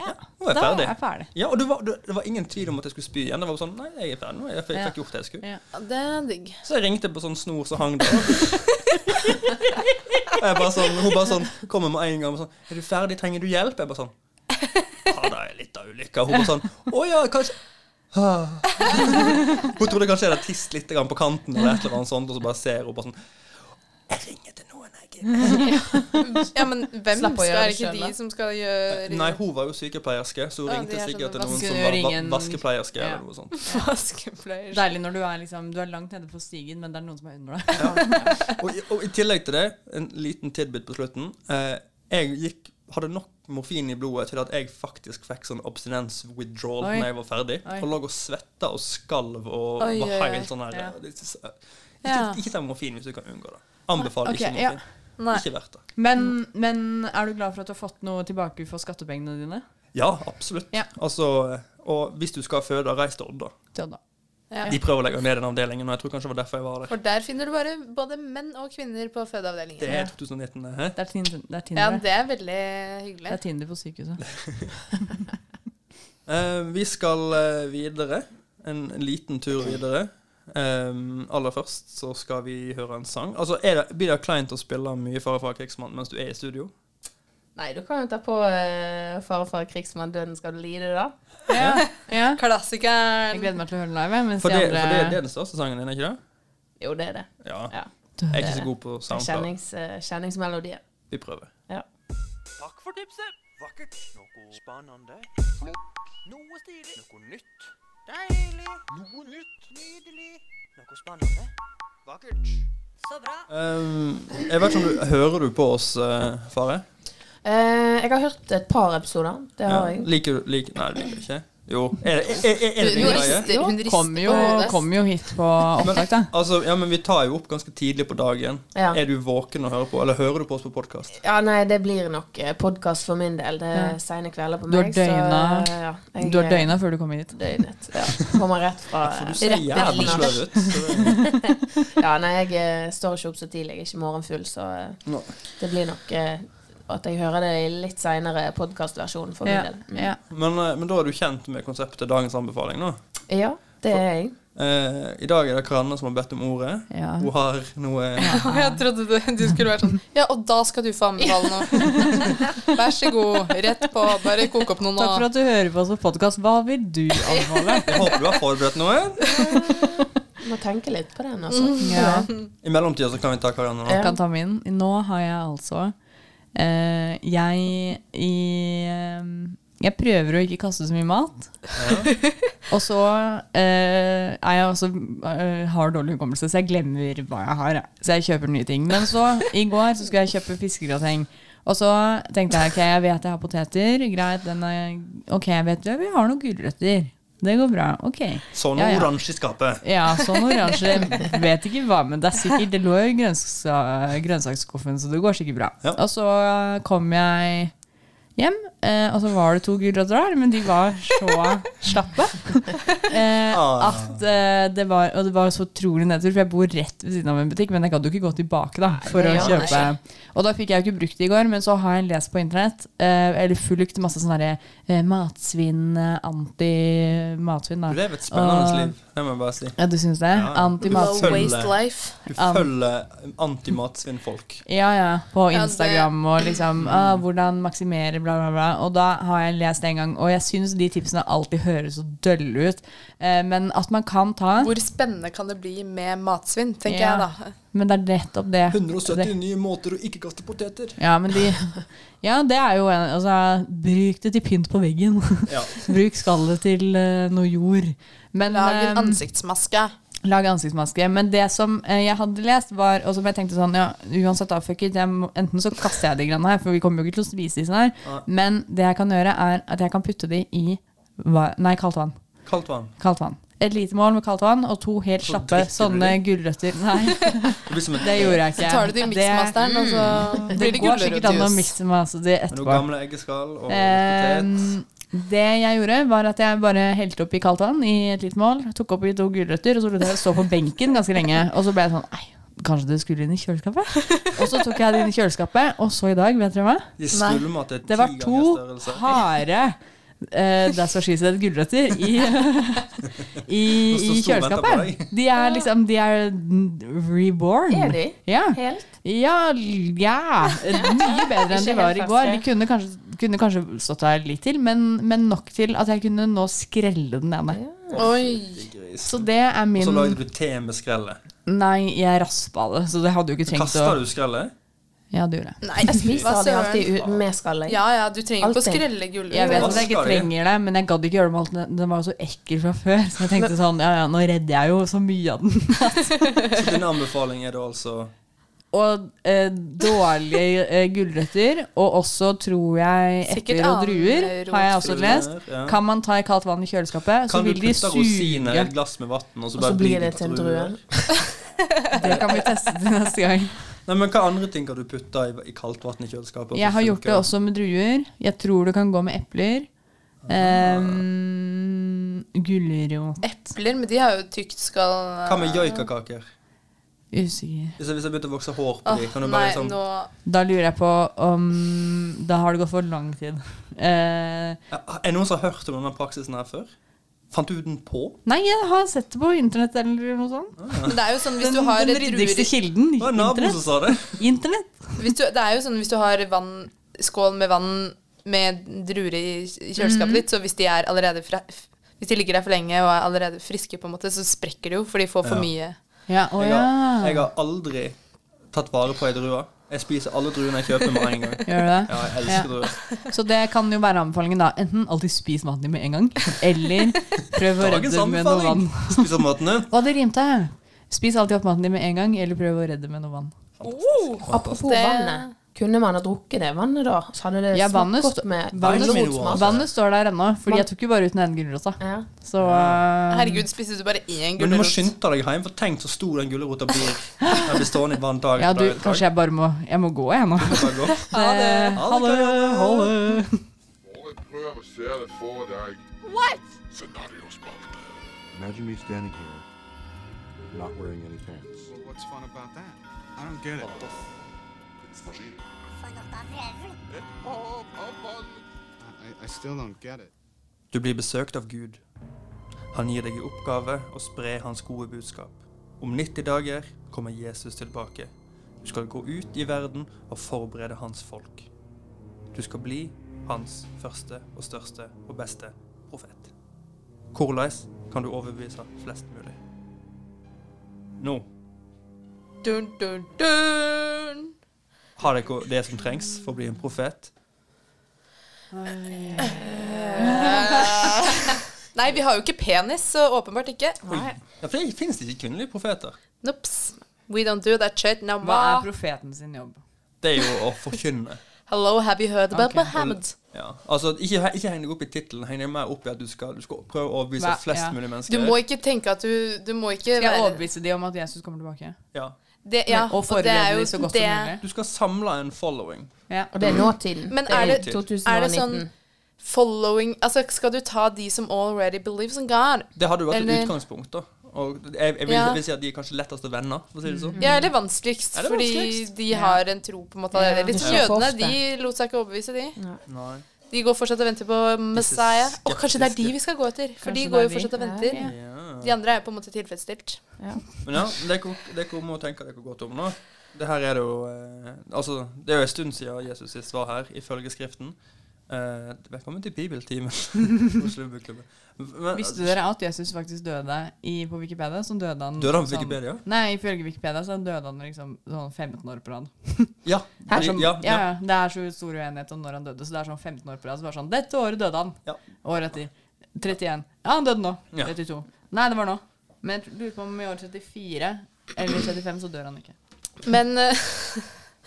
G: ja,
E: nå er jeg
G: da
E: ferdig.
G: er jeg ferdig.
E: Ja, og du var, du, det var ingen tvil om at jeg skulle spy igjen. Det var sånn Nei, jeg er ferdig nå. Jeg fikk,
G: Ja.
E: fikk gjort det jeg skulle.
G: Ja.
F: Ja, Det er digg.
E: Så jeg ringte på sånn snor som hang der. Og jeg bare sånn, hun bare sånn kommer med en gang og sånn 'Er du ferdig? Trenger du hjelp?' Jeg bare sånn Ja, det er litt av ulykka. Hun bare sånn 'Å ja, kanskje Ah. Hun trodde kanskje jeg hadde tisset litt grann på kanten, eller et eller annet sånt, og så bare ser hun bare sånn 'Jeg ringer til noen, jeg.'
F: Ja, men hvem
H: Slapp å
F: skal
H: gjøre
F: Er det
H: det
F: ikke
H: selv, da.
F: de som skal gjøre
E: Nei, hun var jo sykepleierske, så hun
F: Ah, de
E: ringte
F: er
E: sikkert
F: sånne
E: til noen som
G: vaske-
E: var va
G: ringen-
E: vaskepleierske,
G: Ja.
E: eller noe sånt.
F: vaskepleier?
G: Deilig når du er liksom Du er langt nede på stigen, men det er noen som er under deg.
E: og, i, og i tillegg til det, en liten tidbit på slutten. Eh, jeg gikk, hadde nok morfin i blodet til at jeg faktisk fikk sånn abstinens withdrawal
G: Oi.
E: når jeg var ferdig.
G: Oi.
E: Og lå og svetta og skalv og
F: Oi, oi,
E: var
F: oi.
E: helt sånn her
G: Ja.
E: eh, det- det-
F: Ja.
E: Ikke, ikke ta morfin hvis du kan unngå det. Anbefaler
G: Ok,
E: ikke
G: ja.
E: morfin.
F: Nei.
E: Ikke verdt det.
G: Men, men er du glad for at du har fått noe tilbake for skattepengene dine?
E: Ja, absolutt.
G: Ja.
E: Altså, og hvis du skal føde, reis til Odda.
G: Til Odda.
F: Ja.
E: De prøver å legge ned den avdelingen, og jeg tror kanskje det var derfor jeg var der.
F: For der finner du bare både menn og kvinner på
E: Det
F: fødeavdelingen.
E: er 2019, det her.
G: Det er Tinder. Det er
F: Ja,
G: Tinder, det.
F: det er veldig
G: Det
F: hyggelig.
G: er Tinder på sykehuset.
E: Eh, vi skal eh, videre. En liten tur videre. Ehm, aller først så skal vi høre en sang. Altså, er det, Blir det kleint å spille mye Fare fra krigsmann mens du er i studio?
H: Nei, du kan jo ta på uh, Fare for krigsmann, døden skal du lide, da.
G: Ja, ja. Jeg
F: Klassikeren.
G: gleder meg til å høre den live. jeg, Mens
E: For det,
G: de
E: for det, det
G: andre
E: er den største sangen din, er ikke det?
H: Jo, det er det.
E: Ja.
H: Ja.
E: Jeg er ikke så god på soundcloud.
H: Kjennings, eh, kjenningsmelodier.
E: Vi prøver.
I: Takk for tipset. Vakkert. Noe spennende. Noe stilig. Noe nytt. Deilig. Noe nytt. Nydelig. Noe spennende. Vakkert. Så bra.
E: Ehm, jeg vet ikke om du Hører du på oss, eh, Fare?
H: Eh, jeg har hørt et par episoder. Det har jeg.
E: Liker du liker, Nei, du liker ikke? Jo. Er, det- er, er, er det din
F: Hun
E: greie?
F: rister, hun rister
G: kommer jo,
F: på hodet.
G: kom jo hit på opptak, da.
E: Altså, ja, men vi tar jo opp ganske tidlig på dagen.
H: Ja.
E: Er du våken og hører på, eller hører du på oss på podkast?
H: Ja, nei, det blir nok podkast for min del. Det er sene kvelder på
G: Du har
H: meg.
G: døgna.
H: Så, eh, ja,
G: Du har døgna før du kommer hit.
H: Døgnet. Ja. Kommer rett fra
E: For du
H: eh,
E: ser
H: rett
E: jævlig
H: fra-
E: sløv ut. så det-
H: Ja, nei, jeg eh, står ikke opp så tidlig. Jeg er ikke morgenfull, så eh,
E: Nå.
H: det blir nok eh, at jeg hører det i litt seinere podkastversjon for min
G: Ja,
H: del.
G: ja.
E: Men, eh, men da er du kjent med konseptet Dagens anbefaling nå?
H: Ja, det er jeg.
E: Eh, I dag er det Karanna som har bedt om ordet.
G: Mm. Ja.
E: Hun har noe
F: Og jeg trodde du, du skulle være sånn Ja, og da skal du faen meg valge nå. Vær så god. Rett på. Bare koke opp noe nå.
G: Takk for at du hører på oss på podkast. Hva vil du anbefale?
E: Jeg håper du har forberedt noe.
H: Må tenke litt på den, altså.
F: Mm.
G: Ja.
E: I mellomtida så kan vi ta Karanna nå.
H: Ja.
G: kan ta min. Nå har jeg altså eh, Jeg i eh, Jeg prøver å ikke kaste så mye mat. og så eh, er jeg også eh, har dårlig hukommelse, så jeg glemmer hva jeg har. Så jeg kjøper nye ting. Men så, i går, så skulle jeg kjøpe fiskegrateng. Og så tenkte jeg ok, jeg vet jeg har poteter. Greit, den er Ok, jeg vet det. Vi har noen gulrøtter. Det går bra. Ok.
E: Sånn
G: Ja, ja.
E: oransje i skapet.
G: Ja, sånn oransje. Vet ikke hva, men det er sikkert Det lå i grønnsa grønnsaksskuffen, så det går sikkert bra.
E: Ja.
G: Og så eh, kom jeg hjem, eh, og så var det to gulrøtter der, men de var så slappe eh,
E: Ah.
G: at eh, det var Og det var så utrolig nedtur, for jeg bor rett ved siden av en butikk, men jeg gadd jo ikke gå tilbake da for å
H: Ja, nei.
G: kjøpe. Og da fikk jeg jo ikke brukt det i går, men så har jeg lest på internett, eh, eller fulgt masse sånn derre eh, matsvinn, eh, anti-matsvinn,
E: Du
G: da.
E: lever et spennende
G: Og-
E: liv. Det må jeg bare si.
G: Ja, du syns det?
E: Ja.
G: Anti-matsvinn.
F: Low waste life.
E: Du
G: Am.
E: følger antimatsvinnfolk.
G: Ja, ja. På
F: det- Mm.
G: Instagram og liksom ah, hvordan maksimere, bla, bla, bla. Og da har jeg lest det en gang, og jeg syns de tipsene alltid høres så dølle ut. Eh, men at man kan ta
F: Hvor spennende kan det bli med matsvinn, tenker
G: Ja.
F: jeg da.
G: Men det er nettopp det. det
E: nye måter å ikke kaste poteter.
G: ja, men de, ja, det er jo en Altså, bruk det til pynt på veggen.
E: Ja.
G: bruk skallet til eh, noe jord. Men,
F: Lag en
G: eh,
F: ansiktsmaske.
G: Lage ansiktsmaske. Men det som eh, jeg hadde lest, var Og som jeg tenkte sånn, ja, uansett, da, fuck it. Jeg må, enten så kaster jeg de greiene her, for vi kommer jo ikke til å spise disse her. Men det jeg kan gjøre, er at jeg kan putte de i va Nei, kaldt vann.
E: Kaldt vann.
G: Kaldt vann. Et lite mål med kaldt vann og to helt
F: Sånn
E: Så
G: slappe
E: drikker du
G: sånne gulrøtter. Nei,
E: Det blir som et
G: det gjorde jeg ikke.
F: Så tar du det i miksmasteren, og så
G: Det,
F: blir
G: det
F: det
G: går sikkert an å
F: gulrotjuice.
G: mikse masse de
E: med noen
G: etterpå.
E: gamle eggeskall og litt
G: Ehm, det jeg gjorde, var at jeg bare helte oppi kaldt vann i et lite mål, tok oppi to gulrøtter, og så lot jeg det stå på benken ganske lenge. Og så ble jeg sånn Nei, kanskje det skulle inn i kjøleskapet? Og så tok jeg det inn i kjøleskapet, og så i dag, vet dere hva?
E: potet. De svulmet til ti
G: Det var
E: ganger
G: to
E: størrelse.
G: harde Uh, det skal skyes et gulrøtter i, i,
E: Det står
G: i
E: stor venter på
G: kjøleskapet. De er liksom De er reborn.
H: Er de?
G: Ja.
H: Helt?
G: Ja, l- ja. Mye bedre enn de
H: Ikke
G: var i
H: helt
G: går. De
H: ferske.
G: kunne kanskje, kunne kanskje stått der litt til, men, men nok til at jeg kunne nå skrelle den ene.
F: Oi.
E: Gris.
G: Så det er
E: Og
G: min
E: så lagde du te med skrellet.
G: Nei, jeg raspa det, så det hadde jo ikke trengt å
E: Kasta du skrellet?
G: Ja, det gjorde jeg.
F: Nei, hva
H: Viser de
F: søren.
H: alltid u- med skallet?
F: Ja ja, du trenger ikke å
H: Alltid.
F: skrelle
G: Jeg vet at
F: gulrot.
G: jeg ikke
E: Vasker de?
G: trenger det, men jeg gadd ikke gjøre det med alt. Den- Den var jo så ekkel fra før, så jeg tenkte sånn Ja, ja, nå redder jeg jo så mye av den.
E: Så din anbefaling er da altså
G: Og eh, dårlige eh, gulrøtter, og også, tror jeg,
F: Sikkert
G: epler og druer,
F: anerot-
G: har jeg også lest.
E: Ja.
G: Kan man ta i kaldt vann i kjøleskapet, så
E: Kan du
G: vil de
E: putte rosiner i
G: suge
E: et glass med vann, og så
H: Og
E: bare
H: så blir det til en drue.
G: Det kan vi teste til neste gang.
E: Nei, men Hva andre ting kan du putte i, i kaldt vann i kjøleskapet?
G: Jeg har gjort det også med druer. Jeg tror det kan gå med epler. Um, Gulrot
F: Epler, men de har jo tykt skall.
E: Hva med joikakaker?
G: Usikker.
E: Hvis jeg, hvis jeg begynte å vokse hår på
F: Åh,
E: de, kan du
F: nei,
E: bare liksom
F: nå
G: Da lurer jeg på om Da har det gått for lang tid. Eh,
E: Er det noen som har hørt om denne praksisen her før? Fant du den på?
G: nei, jeg har sett det på internett eller noe sånt.
F: Men det er jo sånn hvis
G: Den,
F: du har
G: den
F: druer
G: ryddigste
F: i-
G: kilden.
E: Det var en nabo
G: Internett.
E: som sa det.
G: internett.
F: hvis du, Det er jo sånn hvis du har vann, skål med vann med druer i i kjøleskapet
G: Mhm.
F: ditt, så hvis de er allerede fra, f- Hvis de ligger der for lenge og er allerede friske, på en måte, så sprekker de jo, for de får
E: Ja.
F: for mye.
G: Ja, å
E: Jeg har, jeg
G: ja.
E: har aldri tatt vare på ei drue. Jeg spiser alle druene jeg kjøper med en gang.
G: Gjør du det?
E: Ja, jeg elsker
G: Ja.
E: druer.
G: Så det kan jo være anbefalingen, da. Enten alltid spis maten din med en gang, eller prøv å redde
E: Dagens
G: den med noe vann.
E: anbefaling! Spiser maten din.
G: Å, det rimte! Spis alltid opp maten din med en gang, eller prøv å redde med noe vann.
H: Oh! Apropos
F: Det-
H: vannet. Kunne man ha drukket det vannet da? Så hadde det
G: Ja, vannet
H: smakt
G: sto-
H: godt med
G: vannet-
H: gulrotsmak.
G: Vannet står der ennå,
H: Man-
G: fordi jeg tok jo bare ut den ene gulrota.
H: Ja.
G: Så eh,
F: Herregud, spiste du bare én
E: Men du må
F: gulrot?
E: skynde deg hjem, for tenk så stor den gulrota blir. Den blir stående i vann dag
G: Ja, du,
E: etter dag.
G: kanskje jeg bare må Jeg må gå, jeg nå. Ha det. Ha det. Ha det.
J: Alle prøver å se det for deg. What? Scenarios bak deg.
K: Imagine me standing here, not wearing any pants.
I: What's fun about that? I don't get it.
J: Et hav av vann.
I: I, I still don't get it.
E: Du blir besøkt av Gud. Han gir deg i oppgave å spre hans gode budskap. Om 90 dager kommer Jesus tilbake. Du skal gå ut i verden og forberede hans folk. Du skal bli hans første og største og beste profet. Hvordan kan du overbevise flest mulig? Nå
F: Dun, dun, dun.
E: har dere det som trengs for å bli en profet.
F: Nei, vi har jo ikke penis, så åpenbart ikke.
E: Ja, for det finnes ikke kvinnelige profeter.
F: Nops. We don't do that shit no
G: Hva er
F: more.
G: profeten sin jobb?
E: Det er jo å forkynne.
F: Hello, have you heard about
G: Ok.
F: Mohammed?
E: Ja, altså Ikke, ikke heng deg opp i tittelen, heng deg mer opp i at du skal, du skal prøve å overbevise
G: Hva-
E: flest
G: ja.
E: mulig
F: Du
E: mennesker.
F: må ikke tenke at du Du må ikke
G: Skal jeg overbevise de om at Jesus kommer tilbake?
E: ja.
F: det, ja,
G: og forberede de så godt
F: det-
G: som mulig?
E: du skal samle en following.
G: Ja.
H: Og det er nåtiden.
F: Men
H: det
F: er
H: er
F: det-
H: 2019.
F: Er det sånn following Altså, skal du ta de som already believes in God?
E: Det hadde jo vært
F: Eller-
E: et utgangspunkt, da. Og jeg, jeg, vil,
F: Ja.
E: jeg vil si at de er kanskje letteste venner, for å si det sånn.
G: Mm.
F: Ja, eller vanskeligst,
E: Er det
F: fordi
E: vanskeligst?
F: de har en tro på en måte
H: Ja.
F: allerede. Litt som
H: Ja.
F: jødene.
H: Ofte.
F: De lot seg ikke overbevise, de.
E: Nei.
F: De går fortsatt og venter på Messiah. Og kanskje det er de
E: skeptiske.
F: vi skal gå etter, for
G: Kanskje
F: de
G: det
F: går
G: er
F: jo
G: de.
F: fortsatt og
H: Ja,
F: venter.
H: ja.
E: Ja.
F: De andre er på en måte tilfredsstilt.
E: Men ja, dere, dere må tenke dere godt om nå. Det her er det jo eh, Altså, det er jo en stund siden Jesus sist var her, ifølge Skriften. Eh, velkommen til bibeltimen. Oslo Bukklubben. Men-
G: Visste dere at Jesus faktisk døde i, på Wikipedia? Så døde han
E: Døde han på
G: sånn-
E: Wikipedia?
G: Nei, ifølge Wikipedia så døde han liksom sånn 15 år på rad.
E: Ja.
G: Det er
E: fordi-
G: sånn,
E: ja,
G: ja,
E: ja.
G: ja, det er så stor uenighet om når han døde, så det er sånn 15 år på rad. Så bare sånn Dette året døde han.
E: Ja.
G: Året etter. 31. Ja, han døde nå.
E: Ja.
G: 32. Nei, det var nå. Men jeg tror- lurer på om i år 34 eller 35 så dør han ikke.
F: Men eh,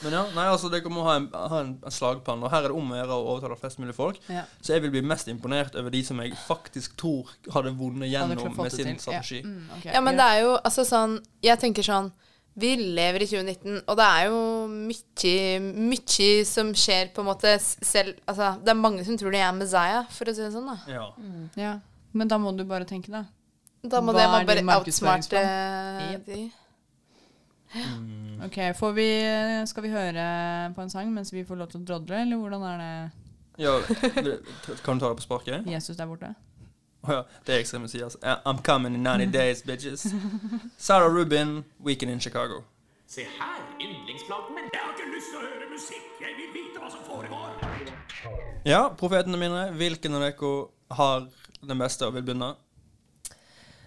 E: Men ja, nei, altså, dere må ha en, ha en, en slagplan. Og her er det om å gjøre å overtale flest mulig folk.
G: Ja.
E: Så jeg vil bli mest imponert over de som jeg faktisk tror hadde vunnet
G: Han har
E: gjennom
G: klart fått
E: med sin
G: det til.
E: strategi.
G: Ja, mm, ok.
F: ja, men det er jo altså sånn Jeg tenker sånn Vi lever i 2019, og det er jo mye, mye som skjer på en måte s- selv Altså, det er mange som tror de er Messiah, for å si det sånn, da.
E: Ja.
G: Ja. Men da må du bare tenke, da.
F: Da må
G: Hva
F: det
G: er
F: man
G: din
F: bare outsmarte
G: Yep.
F: de.
E: Mm.
G: Ok, får vi, Skal vi høre på en sang mens vi får lov til å drodle, eller hvordan er det
E: ja. Kan du ta det på sparket?
G: Jesus der borte?
E: Å ja, det er jeg som sier. altså. Eh, I'm coming in 90 days, bitches. Sarah Rubin, Weekend in Chicago.
I: Se her, yndlingsplanten min. Jeg har ikke lyst til å høre musikk. Jeg vil vite hva som foregår.
E: Ja, profetene mine. Hvilken av dere har den beste og vil begynne?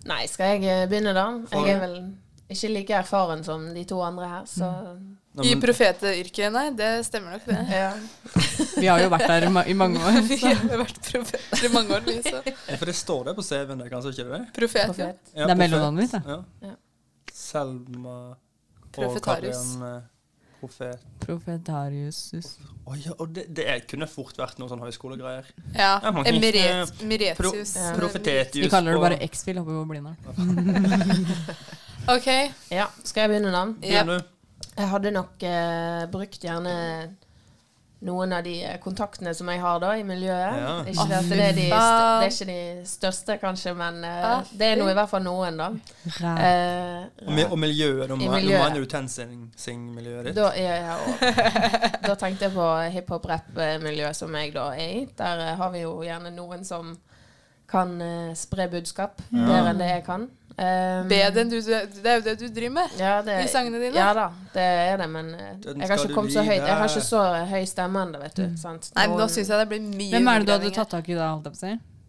H: Nei, skal jeg eh, begynne, da?
E: For-
H: Jeg er vel ikke like erfaren som de to andre her, så
E: Nei,
F: I
E: men-
F: profetyrket, nei, det stemmer nok, det.
H: ja.
G: Vi har jo vært der i ma- i mange år.
F: Vi
G: Så.
F: har vært profeter i mange år, vi, så
E: Ja, for det står det på CV-en der, kanskje ikke det?
F: profet, ja.
H: profet.
E: Ja,
G: Det er
E: profet.
G: mellomnavnet mitt, da.
E: Ja.
H: Ja.
E: Selma og
F: Profetarius.
E: Karin eh, Profet...
G: Profetarius.
E: Å ja, og det, det er, kunne fort vært noen sånn høyskolegreier.
F: Ja.
E: Ja, man kan eh,
F: Emiret,
E: Pro,
F: Miretius.
H: Ja.
E: profetetius.
G: Vi kaller det
E: og-
G: bare X-Fil. Håper vi blir der.
F: OK.
H: ja. Skal jeg begynne, da?
F: Ja.
E: Begynn du.
H: Jeg hadde nok eh, brukt gjerne noen av de eh, kontaktene som jeg har da i miljøet.
E: Ja.
H: Ikke det at det er, de st det er ikke de største, kanskje, men eh,
F: Ah,
H: det er noe, i hvert fall noen, da.
G: Ræ.
H: Eh,
E: Og, mi- og miljøet. Nå
H: I
E: må- nå
H: miljøet.
E: mener du TenSing-miljøet ditt.
H: da, ja, ja, og, da tenkte jeg på hiphop-rapp-miljøet som jeg da er i. Der eh, har vi jo gjerne noen som kan eh, spre budskap bedre enn det jeg kan. Um,
F: Bedre enn du Det er jo det du driver med.
H: ja, det,
F: i sangene dine?
H: Ja da, det er det, men eh,
E: Den
H: jeg har
E: skal
H: ikke
E: du
H: kommet så høyt. Jeg har
E: vide.
H: ikke så eh, høy stemme ennå, vet du. Sant?
F: Mm. Nei, nå
H: Noen-
F: syns jeg det blir mye
G: Hvem er det du hadde
F: undergravninger.
G: tatt tak i da? holdt jeg på å si?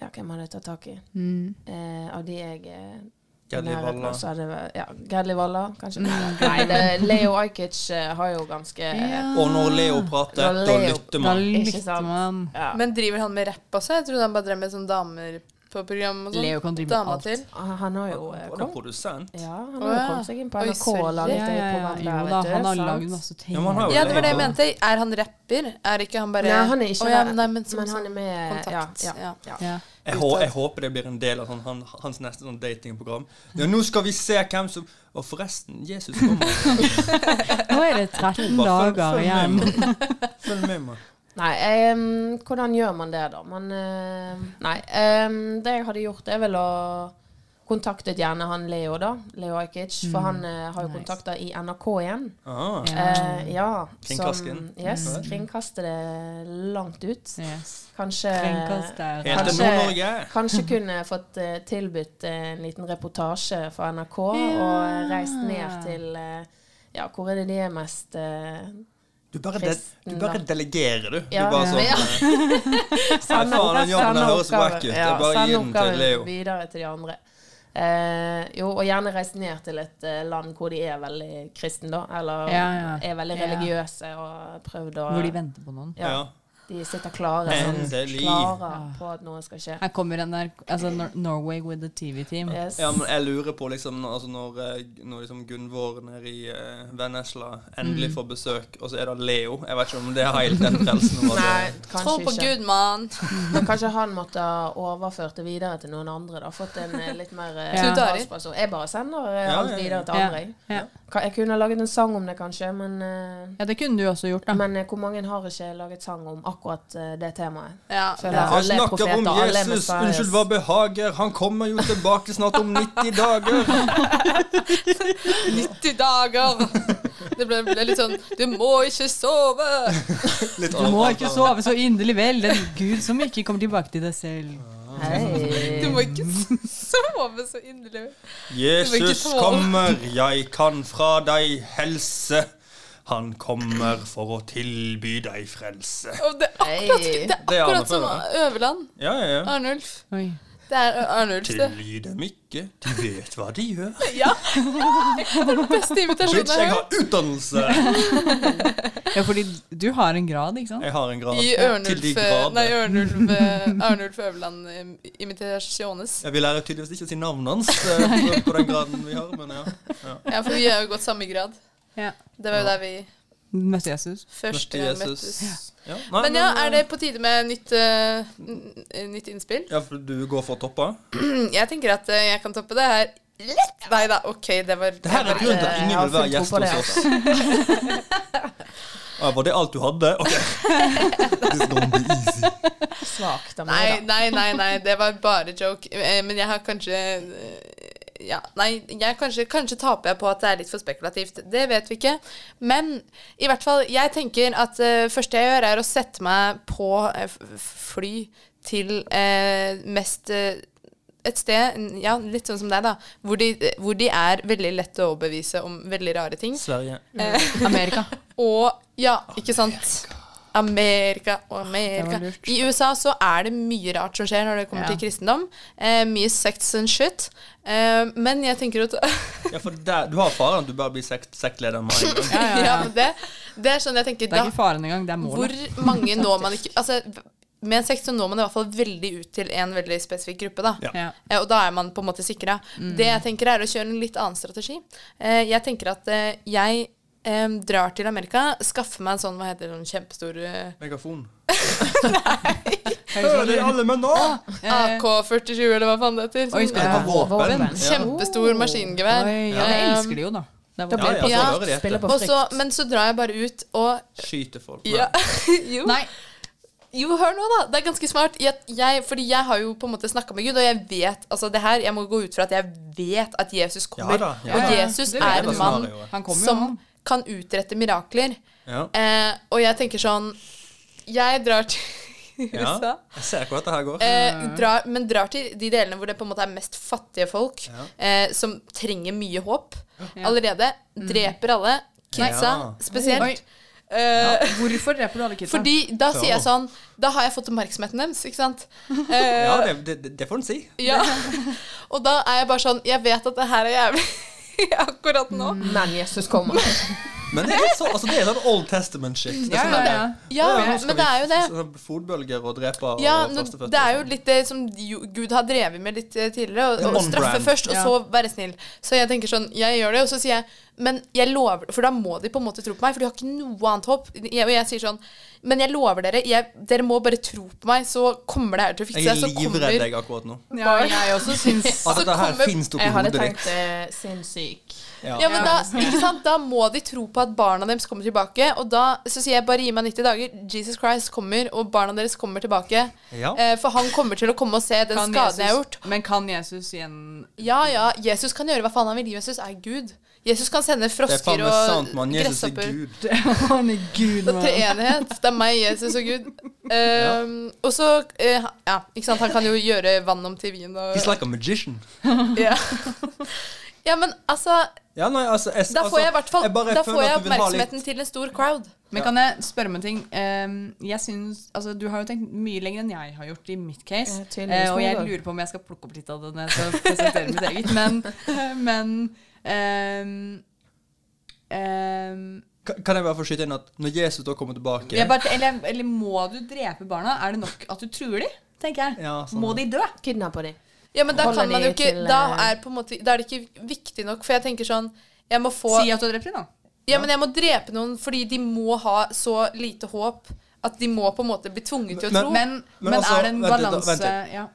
H: Ja, hvem hadde jeg tatt tak i?
G: Mm.
H: Eh, av de jeg eh,
E: Gedli
H: nærheten
E: Valla.
H: også hadde vært- Ja, Gedli Valla, kanskje.
F: Mm,
H: Nei, det, Leo Ajkic eh, har jo ganske ja.
E: Og når Leo prater,
H: Når
E: da
H: Leo-
E: lytter
G: Da
E: man.
H: Ikke
G: lytter
H: sant?
G: man.
F: Men driver han med rapp også? Jeg trodde han bare drev med sånn damer på program og sånn.
G: Leo kan drive med
F: Dama
G: alt.
F: til.
H: Han har jo eh,
E: Han er
H: kommet
E: produsent.
H: Ja,
F: Å,
H: han har jo
F: ja.
H: kommet seg inn på
F: Oi,
H: NRK og
F: sorry.
G: Ja,
H: laget
G: ja,
H: eget
G: ja.
H: program der,
G: Jo da,
H: vet du.
G: han har
H: sant?
G: lagd masse ting.
E: Ja, men han har jo
F: Ja, det var det jeg mente. Er han rapper? Er ikke han bare
H: Nei, han er ikke
F: Å, ja,
H: der,
F: nei, men, som,
H: men han er med
F: kontakt.
H: Ja, ja, ja.
G: Ja.
E: Jeg, hå, jeg håper det blir en del av sånn, han, hans neste sånn datingprogram. Ja, nå skal vi se hvem som Og forresten, Jesus kommer.
G: Nå er det 13 dager igjen.
E: med meg. Følg med meg.
H: Nei, em, hvordan gjør man det, da? Man eh, Nei, em, det jeg hadde gjort, er vel å kontaktet gjerne han Leo, da. Leo Ajkic. For
G: Mm,
H: han eh, har jo kontakter i NRK igjen.
E: Ah.
H: Eh, ja.
E: Kringkastingen.
H: Som, yes,
E: Mm.
H: kringkaste det langt ut.
G: Yes.
H: Kanskje
G: Kringkaste.
E: Helt til Nord-Norge.
H: kanskje kunne fått eh, tilbudt eh, en liten reportasje fra NRK og reist ned til eh, Ja, hvor er det de er mest eh,
E: Du bare, de, du
H: Kristen,
E: bare
H: da.
E: delegerer, du.
H: Ja,
E: du bare
H: ja.
E: sånn,
H: Ja.
E: eh, Nei, faen, den jobben der høres wack ut. Jeg bare gir den til Leo.
H: videre til de andre. Eh, jo, og gjerne reise ned til et eh, land hvor de er veldig kristne, da. Eller
G: Ja, ja.
H: er veldig
G: Ja.
H: religiøse og prøvd å
G: Hvor de venter på noen.
H: Ja.
E: Ja.
H: De sitter klare, sånn,
E: Endelig.
H: klare på at noe skal skje.
G: Her kommer NRK, altså Nor Norway with the TV-team.
H: Yes.
E: Ja, men jeg lurer på liksom når- altså når, eh, når liksom Gunvor nede i eh, Vennesla
F: Mm.
E: endelig får besøk, og så er det Leo. Jeg vet ikke om det er helt den frelsen. om at
H: Nei,
E: det-
H: kanskje
F: Tro på
H: ikke.
F: Gud, mann.
H: Men kanskje han måtte ha overført det videre til noen andre. da Fått en eh, litt mer eh,
F: Knut Arild.
H: talsperson. Jeg bare sender eh,
E: Ja,
H: alt
E: ja, ja.
H: videre til
G: Ja,
H: andre. jeg.
G: ja.
H: Ka- Jeg kunne ha laget en sang om det, kanskje, men, eh,
G: Ja, det kunne du også gjort, da.
H: men eh, hvor mange har ikke laget sang om akkurat eh, det temaet?
F: Ja.
H: Føler
E: Jeg
H: alle er
E: snakker om
H: profeter, alle er
E: Jesus,
H: Messias.
E: unnskyld hva behager, han kommer jo tilbake snart om 90 dager.
F: 90 dager! Det ble, ble litt sånn Du må ikke sove!
E: Litt
G: Du må ikke sove så inderlig vel, den Gud som ikke kommer tilbake til deg selv.
E: Ah.
F: Du
H: Hei.
F: må ikke sove så inderlig. Du må ikke
E: Jesus
F: sove.
E: kommer, jeg kan fra deg helse. Han kommer for å tilby deg frelse.
F: Og det er akkurat, det er
E: Det er
F: akkurat som
E: Arnulf,
F: Øverland.
E: Ja, ja, ja.
F: Arnulf.
G: Oi.
F: Det er Arnulf, det.
E: Tilgi dem ikke, de vet hva de gjør.
F: Ja! Det er den beste
E: Bitch, jeg
F: invitasjonen jeg har hørt.
E: har utdannelse!
G: Ja, fordi du har en grad, ikke sant?
E: Jeg har en grad.
F: I
E: Til de
F: Ørnulf eh,
E: grader.
F: Nei, Ørnulf, Ørnulf Øverland eh, Imitasjones.
E: Ja, vi lærer tydeligvis ikke å si navnet hans eh, på den graden vi har, men ja.
F: Ja, for vi har jo gått samme grad.
G: Ja.
F: Det var jo der vi
G: Møtte Jesus.
F: først
E: Møtte
F: eh,
E: Jesus.
F: møttes.
E: Ja. Nei,
F: Men ja,
E: eh,
F: er det på tide med nytt, eh, n- n- nytt innspill?
E: Ja, for du går for å toppe?
F: Jeg tenker at eh, jeg kan toppe det her litt. Nei da, OK, det var
E: Det her er grunnen til at ingen vil være gjest hos oss. Ja, var det alt du hadde? Ok. This gonna be easy.
H: Svakt av
F: Nei,
H: meg, da.
F: nei, nei, nei, det var bare joke. Eh, Men jeg har kanskje eh, Ja, nei, jeg kanskje, kanskje taper jeg på at det er litt for spekulativt. Det vet vi ikke. Men i hvert fall, jeg tenker at det første jeg gjør, er å sette meg på eh, f- f- fly til eh, mest eh, et sted, ja, litt sånn som deg, da, hvor de, hvor de er veldig lett å overbevise om veldig rare ting.
E: Sverige.
G: Amerika.
F: Og ja, ikke sant? Amerika
G: Det
F: og Amerika.
G: var lurt.
F: I USA så er det mye rart som skjer når det kommer
G: Ja.
F: til kristendom. Eh, mye sex and shit. Eh, men jeg tenker at
E: Ja, for der, du har faren at du bare blir sekt, sektleder med en gang.
G: Ja, ja, ja.
F: men det, det er sånn jeg tenker
G: Det er
F: da,
G: ikke faren engang, det er
F: Hvor
G: målet.
F: mange når man ikke Altså, med en sex så når man i hvert fall veldig ut til en veldig spesifikk gruppe, da.
E: Ja.
G: Ja. Mm.
F: Eh, Og da er man på en måte sikra. Det jeg tenker er å kjøre en litt annen strategi. Eh, Jeg tenker at eh, jeg eh, drar til Amerika, skaffer meg en sånn, hva heter det, sånn kjempestor eh,
E: Megafon.
G: Hører
E: Hører alle menn nå?
G: Eh,
F: AK-47, eller hva faen det heter.
G: Oi,
F: Sånn,
G: spiller
E: Ja.
G: på våpen?
E: Våpen.
G: Ja.
F: Kjempestor maskingevær.
G: Oi, ja, det elsker de jo, ehm, da. Det er
H: Da
G: våpen.
H: blir
E: Ja,
H: det
E: ja, så
H: på
E: hører de
H: frykt. Spiller
E: etter.
H: på
F: Og så,
H: frykt.
F: men så drar jeg bare ut og
E: Skyter folk. Nei.
F: ja, jo.
G: Nei,
F: jo, hør nå, da. Det er ganske smart. Jeg, jeg, fordi jeg har jo på en måte snakka med Gud, og jeg vet altså det her, Jeg må gå ut fra at jeg vet at Jesus kommer.
E: Ja da, ja,
F: og
G: ja.
F: Jesus
G: Det vet
E: jeg
F: er
E: da
F: en mann
E: snarere.
G: han kommer jo.
F: som
G: han.
F: kan utrette mirakler.
E: Ja.
F: Eh, og jeg tenker sånn Jeg drar til
E: ja.
F: USA.
E: Jeg ser hvor dette her går.
F: Eh, drar, men drar til de delene hvor det på en måte er mest fattige folk, eh, som trenger mye håp allerede. Dreper alle. Kidsa
E: Ja.
G: Oi.
F: spesielt. Eh,
G: Hvorfor dreper du alle kidsa?
F: fordi da
E: Så.
F: sier jeg sånn Da har jeg fått oppmerksomheten deres, ikke sant?
E: Ja,
F: Eh,
E: det, det, det- det får en si.
F: ja. Og da er jeg bare sånn Jeg vet at det her er jævlig akkurat nå.
H: Men Jesus kommer.
E: Men det er så, altså, det er sånn Old Testament-shit. Det er
G: ja,
E: sånn
G: ja,
E: der-
G: ja.
F: Ja,
E: nå skal
F: men det
E: vi
F: er jo det.
E: f- f- Fotbølger og dreper
F: Ja,
E: og sånn.
F: nå,
E: førstefødte.
F: det er jo litt det som jo- Gud har drevet med litt eh, tidligere.
E: Det er
F: Å, å
E: on
F: straffe
E: brand.
F: først, og
G: Ja.
F: så være snill. Så jeg tenker sånn, jeg gjør det, og så sier jeg Men jeg lover For da må de på en måte tro på meg, for de har ikke noe annet håp. Jeg, og jeg sier sånn Men jeg lover dere, jeg, dere må bare tro på meg, så kommer det her til å fikse
E: Jeg er
F: seg. Så
E: livredd
F: kommer
E: deg akkurat nå.
G: Ja, jeg også syns
E: At dette her
F: kommer-
E: finnes oppi
H: Jeg hadde
E: hodet ditt.
H: tenkt eh, sinnssyk.
F: Ja, men da, ikke sant? da må de tro på at barna deres kommer tilbake. Og da så sier jeg bare gi meg 90 dager. Jesus Christ kommer, og barna deres kommer tilbake.
L: Ja.
F: Eh, For han kommer til å komme og se den
L: Kan
F: skaden jeg har
L: Jesus-
F: gjort.
L: Men kan Jesus igjen
F: Ja, ja, Jesus kan gjøre hva faen han vil. Jesus er Gud. Jesus kan sende
E: Det er faen
F: frosker
E: meg
F: og
E: sant, mann. Jesus er
F: gresshopper.
E: Gud.
G: Han er Gud,
F: Det er treenighet. Det er meg, Jesus og Gud. Ehm, Og så eh, ha- Ja, ikke sant. Han kan jo gjøre vann om til vin og
E: He's like a magician.
F: ja. ja, men altså
E: Ja, nei, altså, jeg,
F: Da får jeg i hvert fall
E: altså, bare
F: Da
E: føler
F: får jeg
E: at du vil ha litt-
F: oppmerksomheten til en stor crowd.
G: Men kan jeg spørre om en ting? Ehm, jeg synes, altså, du har jo tenkt mye lenger enn jeg har gjort i mitt case.
L: Eh, tydeligvis
G: Eh, og
L: må
G: jeg
L: jeg da.
G: lurer på om jeg skal plukke opp litt av det når jeg skal presentere mitt eget. Men, eh, men ehm, ehm,
E: Ka- Kan jeg bare få skyte inn at når Jesus da kommer tilbake
G: jeg bare, eller, eller må du drepe barna? Er det nok at du truer dem? Tenker jeg.
E: Ja, sånn.
G: Må de dø?
H: Kidnappe dem.
F: Ja, men da
G: Holder
F: kan man
G: de
F: jo ikke
G: til,
F: Da
G: eh,
F: er, på en måte, da er det ikke viktig nok, for jeg tenker sånn Jeg må få
G: Si at du har drept dem, da.
F: Ja, men jeg må drepe noen fordi de må ha så lite håp at de må på en måte bli tvunget til å
E: Men-
F: tro.
E: men- men Men altså, er det en vent litt, da, balanse- vent litt.
G: ja.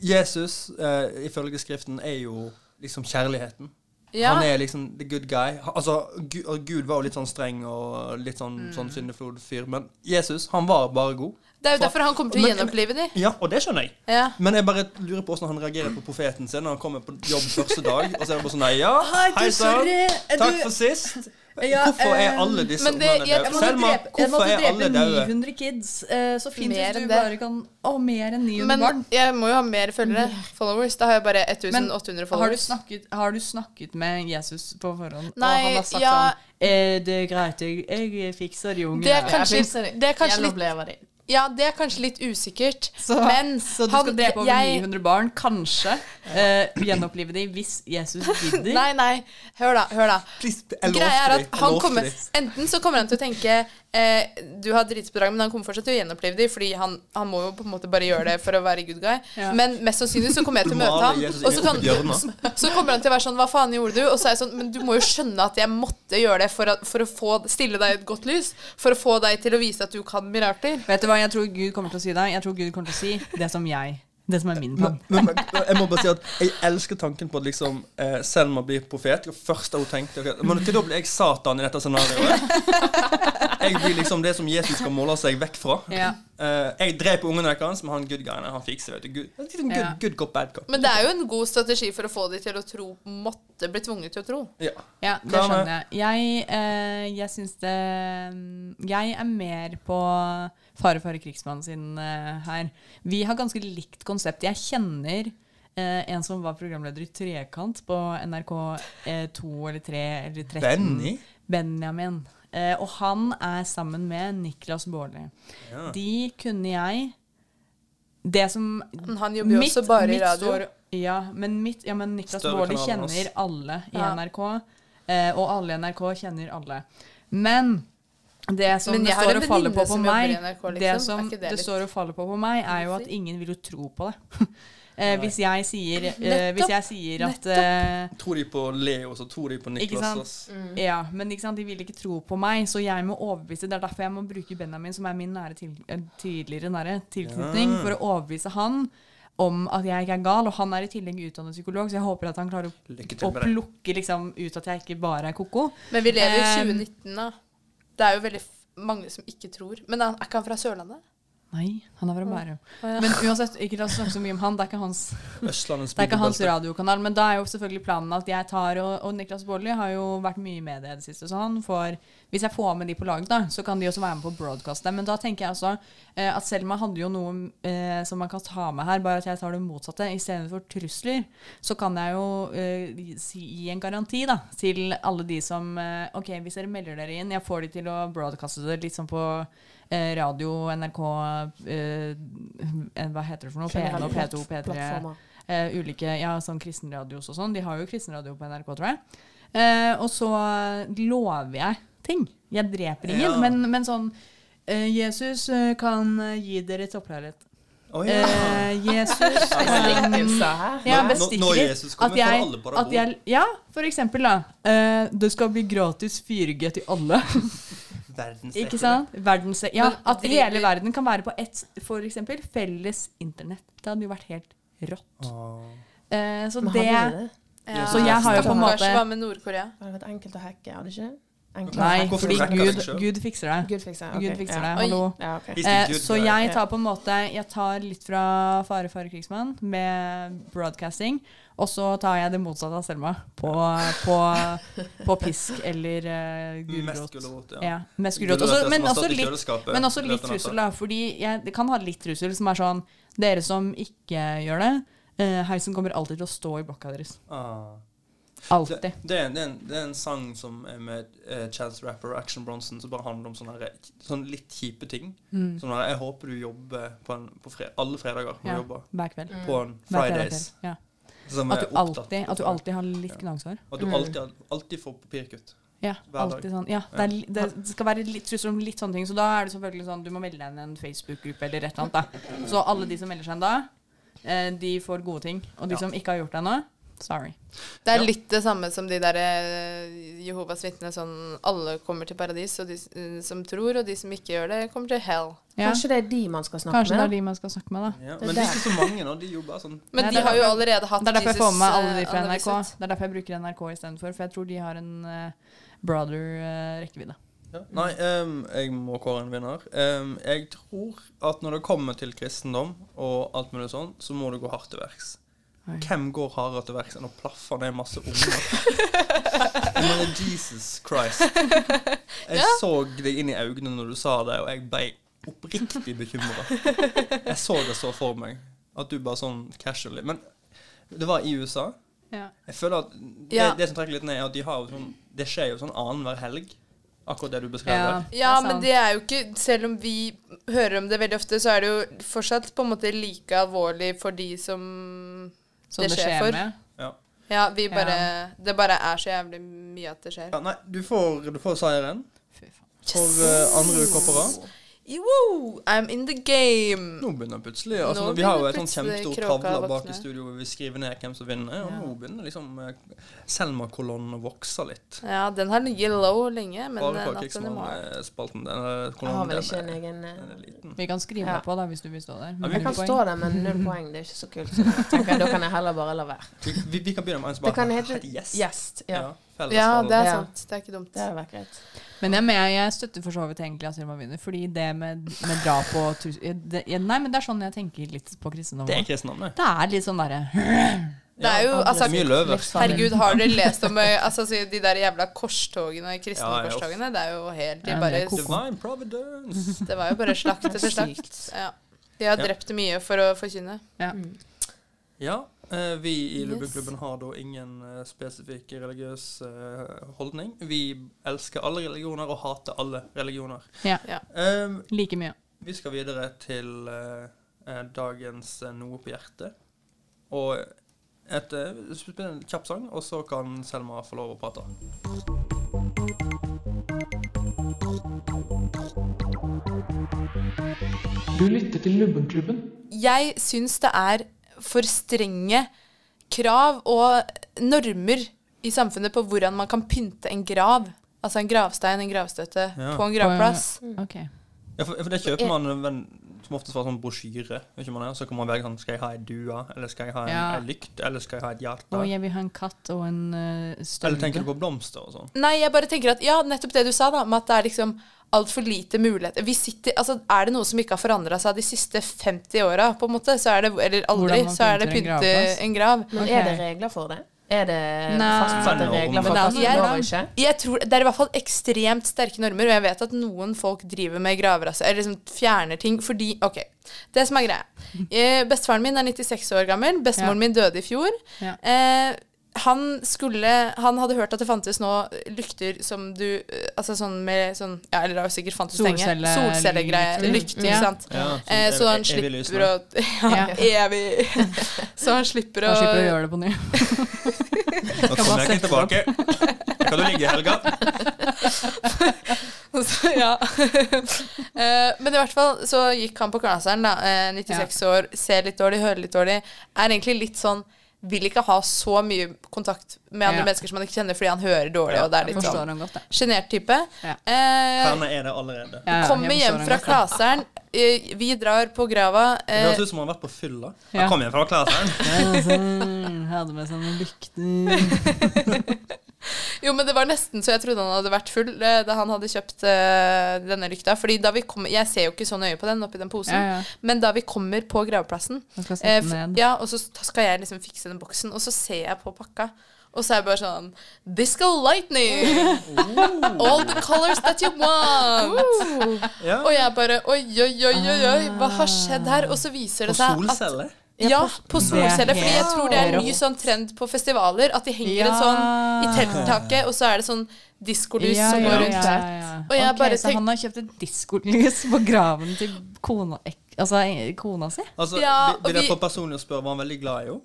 E: Jesus, eh, ifølge Skriften, er jo liksom kjærligheten.
F: Ja.
E: Han er liksom the good guy. Ha- Altså, Gud, Gud var jo litt sånn streng og litt sånn, sånn syndeflod-fyr, men Jesus, han var bare god.
F: Mm. Det er jo
E: For-
F: derfor han kommer til å
E: Men-
F: gjenopplive de.
E: Ja, og det skjønner jeg.
F: Ja.
E: Men jeg bare lurer på hvordan han reagerer på profeten sin når han kommer på jobb første dag. Og så er det bare sånn Nei, ja,
G: Hei, du,
E: hei sann,
G: sorry, er
E: takk
G: du-
E: for sist.
G: Ja,
E: Hvorfor er
G: eh,
E: alle disse
G: men det-
E: ungene døde?
G: jeg- jeg måtte
E: Selma,
G: drepe- jeg
E: hvorfor
G: måtte
E: er alle
G: drepe
E: døde?
G: 900 kids. eh, så fint
F: Mer
G: hvis du
F: enn det.
G: bare kan Å, mer enn 900
F: Men
G: barn.
F: jeg må jo ha mer følgere. Followers. Da har jeg bare
G: Mm. Men
F: 1800
G: har du,
F: followers.
G: snakket, har du snakket med Jesus på forhånd? og
F: Nei,
G: han har sagt
F: ja.
G: sånn Er det greit, jeg, jeg fikser de ungene.
F: Det er kanskje, det er kanskje
H: Gjenopplever
F: litt Ja, det er kanskje litt usikkert.
G: så,
F: men
G: så du skal drepe over 900 barn, kanskje? eh, gjenopplive de hvis Jesus gidder?
F: Nei, nei. Hør da. hør da
G: jeg lovte
F: Greia er
G: deg,
F: at
G: jeg
F: han
G: lovte
F: kommer
G: deg.
F: Enten så kommer han til å tenke eh, Du har dritsbedrag, men han kommer fortsatt til å gjenoppleve dem, fordi han, han må jo på en måte bare gjøre det for å være good guy.
L: Ja.
F: Men mest sannsynlig så kommer jeg til å
L: Du
F: møte
L: maler
F: ham,
L: Jesus
F: og så,
L: inn i et
F: kan,
L: hjørne.
F: så kommer han til å være sånn Hva faen gjorde du? Og så er jeg sånn Men du må jo skjønne at jeg måtte gjøre det for, at, for å få, stille deg i et godt lys. For å få deg til å vise at du kan mirakler.
G: Vet du hva jeg tror Gud kommer til å si da? Jeg tror Gud kommer til å si det som jeg Det som er min plan.
E: Men, men, jeg må bare si at jeg elsker tanken på at liksom, eh, Selma blir profet. Det første hun tenkte ok, Men ikke da blir jeg Satan i dette scenarioet. Jeg blir liksom det som Jesus skal måle seg vekk fra.
F: Ja.
E: Eh, jeg dreper ungen deres, men han good guyen han fikser vet du. Good, det er liksom good,
F: Ja.
E: good cop, bad cop.
F: Men det er jo en god strategi for å få de til å tro Måtte bli tvunget til å tro.
E: Ja.
G: Ja, det
F: Hva med-
G: skjønner jeg. Jeg, eh, jeg syns det mm, Jeg er mer på Fare fare krigsmannen sin eh, her. Vi har ganske likt konsept. Jeg kjenner eh, en som var programleder i Trekant på NRK2 eller 3 eller 13.
E: Benny?
G: Benjamin. Eh, og han er sammen med Niklas Baarli.
L: Ja.
G: De kunne jeg Det som
F: Men han jobber jo også bare i radio.
G: står- ja, men mitt Ja, men Niklas
L: Større
G: Baarli
L: kanaler enn oss.
G: kjenner alle i
F: Ja.
G: NRK. eh, og alle i NRK kjenner alle. Men det som
F: Men
G: det
F: jeg har
G: står
F: en
G: og faller på
F: venninne
G: på
F: som
G: meg,
F: jobber i NRK, liksom.
G: det
F: Er
G: som
F: ikke det
G: det,
F: litt-
G: står og faller på på meg, er jo at ingen vil jo tro på det. Eh, hvis jeg sier eh, Hvis jeg sier at eh,
E: Tror de på Leo, så tror de på
G: ikke
E: Niklas.
G: sant?
E: ass.
F: Mm.
G: Ja, men ikke sant? de vil ikke tro på meg, så jeg må overbevise. Det er derfor jeg må bruke Benjamin, som er min nære til, eh, tidligere nære tilknytning,
L: Ja.
G: for å overbevise han om at jeg ikke er gal. Og han er i tillegg utdannet psykolog, så jeg håper at han klarer å,
E: Lykke
G: å
E: til med det.
G: plukke liksom, ut at jeg ikke bare er ko-ko.
F: Men vi lever i
G: Eh,
F: 2019, da. Det er jo veldig f- mange som ikke tror. Men han, er ikke han fra Sørlandet?
G: Nei, han er fra Bærum.
F: Å, ja.
G: Men uansett, ikke la oss snakke så mye om han. Det er ikke hans,
E: Østlandets
G: det er ikke hans
E: bibelbelte.
G: radiokanal. Men da er jo selvfølgelig planen at jeg tar Og, og Niklas Baarli har jo vært mye i media i det siste, så han får Hvis jeg får med de på laget, da, så kan de også være med på å broadcaste. Men da tenker jeg også eh, at Selma hadde jo noe eh, som man kan ta med her, bare at jeg tar det motsatte. Istedenfor trusler, så kan jeg jo eh, si, gi en garanti da, til alle de som eh, OK, hvis dere melder dere inn, jeg får de til å broadcaste det litt sånn på eh, radio, NRK eh, eh, Hva heter det for noe? P1
L: Generelle
G: og P2, P3
L: plattformer.
G: eh, Ulike ja, sånn kristenradios og sånn. De har jo kristenradio på NRK, tror jeg. Eh, og så lover jeg ting. Jeg dreper ingen,
L: Ja.
G: men, men sånn eh, Jesus eh, kan eh, gi dere topplerhet.
L: Å, ja.
G: eh, Jesus
L: Ja,
G: kan-
L: bestikkelser her.
G: Ja,
L: Nå-
G: bestikker.
L: når Jesus kommer,
G: At jeg-
L: får alle på
G: at jeg- Ja, for eksempel, da. Eh, det skal bli gratis 4G til alle.
E: Verdensrekord.
G: Ikke sant? Verdens, ja,
E: Men
G: at
E: driver-
G: hele verden kan være på ett for eksempel, felles internett. Det hadde jo vært helt rått.
E: Åh.
G: Eh, så
H: Men
G: det,
H: hadde det det?
F: Ja,
G: Så jeg har jo på en måte
F: stakkars, Hva med Nord-Korea?
H: Det hadde vært enkelt å hacke, hadde ikke det?
G: Nei, fordi Gud, Gud fikser det.
H: Gud fikser det, ok.
G: Gud fikser
H: Ja.
G: det, hallo.
H: Oi. Ja, ok.
G: eh,
H: Hvis det er Gud,
G: så
H: ja.
G: jeg tar på en måte Jeg tar litt fra Fare fare krigsmann med broadcasting, og så tar jeg det motsatte av Selma på, på, på pisk eller uh,
E: Mest
G: gulrot.
E: gulrot, ja.
G: mest gulrot.
E: Gulrot er
G: Også,
E: som
G: men,
E: har
G: også
E: stått i
G: litt,
E: kjøleskapet
G: men også
E: i
G: litt
E: løpet av natta.
G: trussel, da. Fordi jeg det kan ha litt trussel som er sånn Dere som ikke gjør det, eh, heisen kommer alltid til å stå i blokka deres.
E: Ah.
G: Alltid.
E: Det, det, er en, det, er en, det er en sang som er med eh, Chance Rapper og Action Bronson som bare handler om sånne, her- sånne litt kjipe ting.
G: Mm.
E: Sånn her, jeg håper du jobber på, en, på fre alle fredager må
G: Ja,
E: du jobbe.
G: hver kveld. Mm.
E: På en
G: Hver fredag
E: Fridays.
G: kveld, ja.
E: Som
G: At
E: er
G: du
E: opptatt.
G: alltid- at du alltid har litt gnagsår.
E: At du
G: Mm.
E: alltid, alltid får papirkutt.
G: Ja,
E: Hver dag.
G: alltid sånn. Ja, det, er, li- det det skal være litt trusler om litt sånne ting. Så da er det selvfølgelig sånn du må melde deg inn i en Facebook-gruppe eller et eller annet. da. Så alle de som melder seg inn da, eh, de får gode ting. Og de
F: Ja.
G: som ikke har gjort det ennå, sorry.
F: Det er litt det samme som de der eh, Jehovas vitner. Sånn, alle kommer til paradis, og de s- eh, som tror, og de som ikke gjør det, kommer til hell.
H: Kanskje det er de man skal snakke
G: Kanskje det er
H: med?
G: de man skal snakke med, da.
E: Ja, men det er ikke så mange nå. De jobber sånn
G: Det
F: Men
G: er
F: de har jo
G: derfor-
F: allerede hatt
G: Det er derfor jeg får med alle de fra
F: Jesus,
G: NRK.
F: eh,
G: Det er derfor jeg bruker NRK istedenfor, for jeg tror de har en uh, broader eh, rekkevidde.
E: Nei, ehm, jeg må kåre en vinner. Ehm, jeg tror at når det kommer til kristendom og alt mulig sånn, så må du gå hardt til verks.
G: Oi.
E: Hvem går hardere til verks enn å plaffe ned masse unger? Jeg mener, Jesus Christ. Jeg
F: Ja.
E: så deg inn i øynene når du sa det, og jeg ble oppriktig bekymra. Jeg så det så for meg. At du bare sånn casually Men det var i USA.
G: Ja.
E: Jeg føler at det,
F: Ja.
E: det som trekker litt ned, er at de har jo sånn, det skjer jo sånn annenhver helg. Akkurat det du beskrev der.
F: Ja, men det er jo ikke Selv om vi hører om det veldig ofte, så er det jo fortsatt på en måte like alvorlig for de som,
G: Som det skjer med.
E: Ja.
F: Ja, vi bare Det bare er så jævlig mye at det skjer.
E: Ja, nei, du får, du får seieren. For eh, andre uka på rad.
F: Woo, I'm in the game.
E: Nå begynner plutselig altså,
F: Nå
E: Vi har jo
F: begynner
E: et sånt
F: plutselig
E: kjempestort
F: kråka å
E: tavle bak i
F: våkne.
E: studio hvor vi skriver ned hvem som vinner. Og
F: Ja.
E: nå begynner liksom eh, Selma-kolonnen å vokse litt.
F: Ja, den har ligget low lenge, men
E: Bare
F: eh,
E: for
F: natten i morgen.
E: Krigsmann-spalten. Den eh,
H: Jeg har
E: kolonnen den
H: vel ikke
E: er
H: en egen eh,
G: Vi kan skrive
H: Ja.
G: deg på da, hvis du vil stå der.
E: Ja, vi
H: Jeg kan stå der, men null poeng. Det er ikke så kult. Så jeg tenker, da kan jeg heller bare la være.
E: vi, vi, vi kan begynne med en som
H: Det kan
E: bare
H: hete
E: heter Yes.
H: Gjest. Ja.
E: felles
F: Ja,
E: valg.
F: det er sant. Det er ikke dumt.
H: Det hadde vært greit.
G: Men jeg, men jeg, jeg støtter for så vidt egentlig at Selma vinner, fordi det med, med drap og trus... det, Nei, men det er sånn jeg tenker litt på kristendom.
E: Det er
G: også.
E: kristendom, det.
G: Det er litt sånn derre
F: Det er jo,
E: Ja,
F: altså,
E: det er mye løver.
F: Herregud, har dere lest om eh, altså, si, de der jævla korstogene, kristne
E: Ja, ja, uff.
F: korstogene? Det er jo helt de
E: Ja,
F: bare,
E: det er koko. Divine providence.
F: Det var jo bare slakt
E: Det er
F: etter slakt.
E: sykt.
F: Ja. De har
E: Ja.
F: drept mye for å forkynne.
E: Ja, eh, vi i
F: Yes.
E: Lubbeklubben har da ingen eh, spesifikk religiøs eh, holdning. Vi elsker alle religioner og hater alle religioner.
G: Ja.
E: Ehm,
G: Like mye.
E: Vi skal videre til eh, eh, dagens eh, Noe på hjertet. Og et, eh, spille en kjapp sang, og så kan Selma få lov å prate.
A: Du lytter til Lubbenklubben.
F: Jeg syns det er for strenge krav og normer i samfunnet på hvordan man kan pynte en grav. Altså en gravstein, en gravstøtte,
E: Ja.
F: på en gravplass.
H: Mm.
G: Ok.
E: Ja, for, for det kjøper man eh, ven, som oftest fra sånn brosjyre. vet ikke om man er, Så kan man velge sånn Skal jeg ha ei due, eller skal jeg ha en,
G: Ja.
E: ei lykt, eller skal jeg ha et hjerte?
G: Og jeg vil ha en katt og en uh,
E: Eller tenker du på blomster og sånn?
F: Nei, jeg bare tenker at Ja, nettopp det du sa, da, med at det er liksom altfor lite muligheter. Vi sitter, altså, er det noe som ikke har forandra seg de siste 50 åra, på en måte, så er det Eller aldri,
G: Hvordan man
F: så er det
G: pynter en
F: pynte
G: gravplass.
F: en grav.
H: Men er det regler for det? Er det
F: Nei.
H: fastsatte regler
F: Men
H: for
F: det er
H: hva
F: jo
H: som
F: normer.
H: går og ikke?
F: Jeg tror Det er i hvert fall ekstremt sterke normer, og jeg vet at noen folk driver med graver, altså, eller liksom fjerner ting fordi OK. Det som er greia. Eh, Bestefaren min er 96 år gammel. Bestemoren min døde i fjor.
G: Ja.
F: Eh, han skulle Han hadde hørt at det fantes nå lykter som du eh, Altså sånn med sånn Ja, eller det har jo sikkert fantes lenge.
G: Solcelle-
F: Solcellegreier.
G: lykter. Ja.
F: Lykter, ikke sant.
G: Ja, sånn
F: eh, så han
G: ev- evig lys,
F: slipper å Ja, evig. så han slipper å
G: Da slipper du å gjøre det på ny.
E: Nå kommer jeg ikke tilbake. Kan du ligge i helga?
F: Så, ja. Eh, Men i hvert fall så gikk han på knaseren, da. eh, 96 år, ser litt dårlig, hører litt dårlig. Er egentlig litt sånn Vil ikke ha så mye kontakt med andre
G: Ja.
F: mennesker som han ikke kjenner, fordi han hører dårlig,
E: Ja,
F: og det er
G: jeg
F: litt
G: forstår
F: sånn
G: han eh, godt, det.
F: sjenert type. Eh,
E: Herne er det allerede.
F: kommer hjem fra klaseren, eh, vi drar på grava.
E: Det
F: eh,
E: høres ut som han har vært på fylla.
F: Ja.
E: Han kom hjem fra klærsteren.
G: Han hadde Mm, med sånn seg noen lykter.
F: Jo, men det var nesten så jeg trodde han hadde vært full eh, da han hadde kjøpt eh, denne lykta. Fordi da vi kom, Jeg ser jo ikke så nøye på den oppi den posen,
G: Ja, ja.
F: men da vi kommer på graveplassen
G: Han skal sette
F: eh,
G: den
F: f-
G: ned.
F: Ja, og så s- skal jeg liksom fikse den boksen, og så ser jeg på pakka. Og så er jeg bare sånn Disco lightning! All the colors that you want! Og jeg bare Oi, oi, oi, oi, oi, hva har
G: Ah.
F: skjedd her? Og så viser det
E: På
F: seg at
E: solceller?
F: ja, på
E: Det er
F: solceller. Fordi jeg
E: helt
F: tror det er en ny
E: rått.
F: sånn trend på festivaler. At de henger en sånn i telttaket, og så er det sånn diskolys
G: Ja,
F: som
G: ja,
F: går rundt.
G: ja, ja.
F: Og jeg
G: Ok,
F: bare
G: så han har kjøpt et diskolys på graven til kona, ek- altså, eh, kona si?
E: Altså,
F: Ja,
E: vil- Vil
F: og
E: jeg
F: vi-
E: få personlig å spørre, var han veldig glad i henne?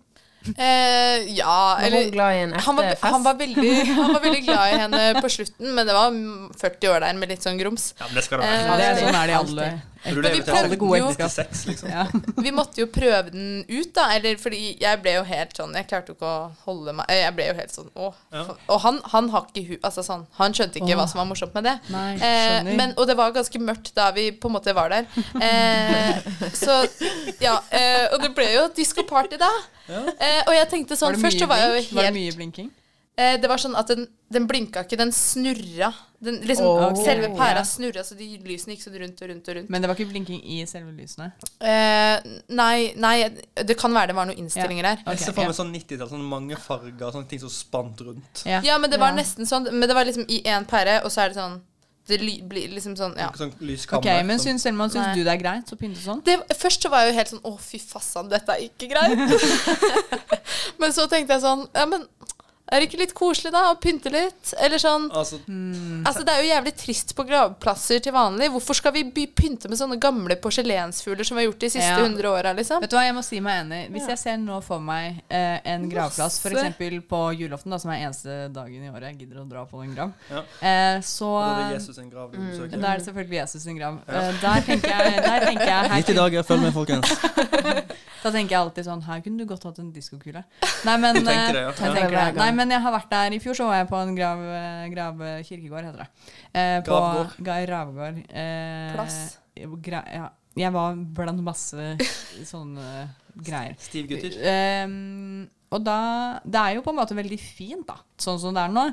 F: Eh, ja,
H: Var
F: eller
H: hun glad i en ekte
F: han, var,
H: fest?
F: han, var veldig, han var veldig glad i henne på slutten, men det var mm, 40 år der med litt sånn grums.
E: Ja, men det skal det
F: Eh,
E: være.
G: Ja, det er sånn er det i alle,
E: Burde
G: Men
E: leve
G: vi
E: til alle
G: prøvde
E: gode
G: jo-
E: ekteskap. 96, liksom.
G: Ja.
F: Vi måtte jo prøve den ut, da. Eller fordi jeg ble jo helt sånn Jeg klarte jo ikke å holde meg eh, Jeg ble jo helt sånn Å. faen». Og han, han har ikke hu... Altså sånn Han skjønte ikke
G: Åh.
F: hva som var morsomt med det.
G: Nei,
F: Eh,
G: skjønner.
F: men, og det var ganske mørkt da vi på en måte var der. Eh, så ja. Eh, og det ble jo et diskoparty da. Eh, og jeg tenkte sånn
G: Var det
F: Først så
G: mye
F: var jeg jo
G: blink?
F: helt
G: Var det mye blinking?
F: Eh, det var sånn at den, den blinka ikke, den snurra. Den, liksom,
G: Åh.
F: Selve
G: Ja.
F: pæra snurra, så de lysene gikk sånn rundt og rundt og rundt.
G: Men det var ikke blinking i selve lysene?
F: Eh, nei, nei, det kan være det var noen innstillinger der.
E: Jeg ser for meg sånn 90-tall, sånn mange farger, sånne ting som spant rundt.
F: Ja, men det var nesten sånn. Men det var liksom i én pære, og så er det sånn Det ly, blir liksom sånn, ja.
E: Sånn lyskammer.
G: Ok, men syns Selma syns
F: Nei.
G: du det er greit å pynte sånn?
F: Det, først så var jeg jo helt sånn Å, fy fassan, dette er ikke greit. men så tenkte jeg sånn Ja, men er det ikke litt koselig, da? Å pynte litt? Eller sånn
E: Altså,
F: Altså, Det er jo jævlig trist på gravplasser til vanlig. Hvorfor skal vi by pynte med sånne gamle porselensfugler som vi har gjort de siste
G: Ja.
F: hundre åra? Liksom?
G: Vet du hva, jeg må si meg enig. Hvis
F: Ja.
G: jeg ser nå for meg eh, en gravplass,
F: Masse.
G: f.eks. på julaften, da, som er eneste dagen i året jeg gidder å dra på en grav,
E: Ja.
G: eh, så
E: Og da er det Jesus sin grav du besøker.
G: Da er det selvfølgelig Jesus sin grav.
E: Ja.
G: Eh, der tenker jeg, der tenker jeg her
E: 90 dager, følg med, folkens.
G: Da tenker jeg alltid sånn Her kunne du godt hatt en diskokule. Nei, men,
E: Du tenker det, ja. Ja.
G: eh, jeg tenker
E: Hver gang.
G: det. Nei, men jeg har vært der i fjor, så var jeg på en grav, eh, grav kirkegård, heter det. Eh, på
E: Gravgård.
G: Ga- Gravgård. Eh,
E: Plass.
G: Gra ja. Jeg var blant masse sånne greier.
E: Stiv gutter.
G: Eh, og da Det er jo på en måte veldig fint, da, sånn som det er nå.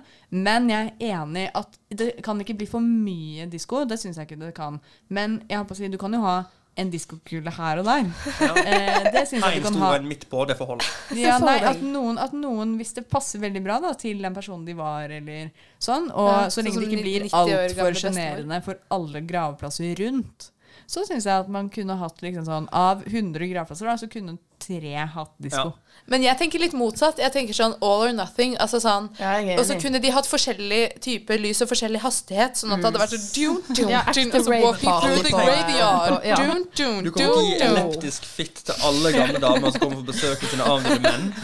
G: Men jeg er enig at det kan ikke bli for mye disko. Det syns jeg ikke det kan. Men jeg holdt på å si, du kan jo ha en diskokule her og der. Eh, det syns jeg
E: En
G: du kan
E: stor
G: ha.
E: og en midt på, det får holde.
G: Ja, nei, at noen, at noen, hvis det passer veldig bra da, til den personen de var, eller sånn, og
L: Ja,
G: så
L: sånn
G: lenge
L: som
G: det
L: 90
G: ikke blir
L: år gamle
G: altfor
L: bestemor.
G: sjenerende for alle gravplasser rundt, så syns jeg at man kunne hatt liksom sånn Av 100 gravplasser, da, så kunne tre hatt disko.
F: Men jeg tenker litt motsatt. Jeg tenker sånn all or nothing. Altså sånn,
H: er
F: og så
H: enig.
F: kunne de hatt forskjellig type lys og forskjellig hastighet, sånn at det hadde vært
E: Mm.
F: sånn dun, dun,
H: Ja,
F: dun,
H: ekte
F: og så Altså, walking
H: rave-party
F: through the
H: på-
F: graveyard.
H: på- ja.
F: Dun, dun,
E: Du
F: dun,
E: kommer til å gi
F: dun.
E: elektrisk fitt til alle gamle damer som kommer på besøk til sine avdøde menn.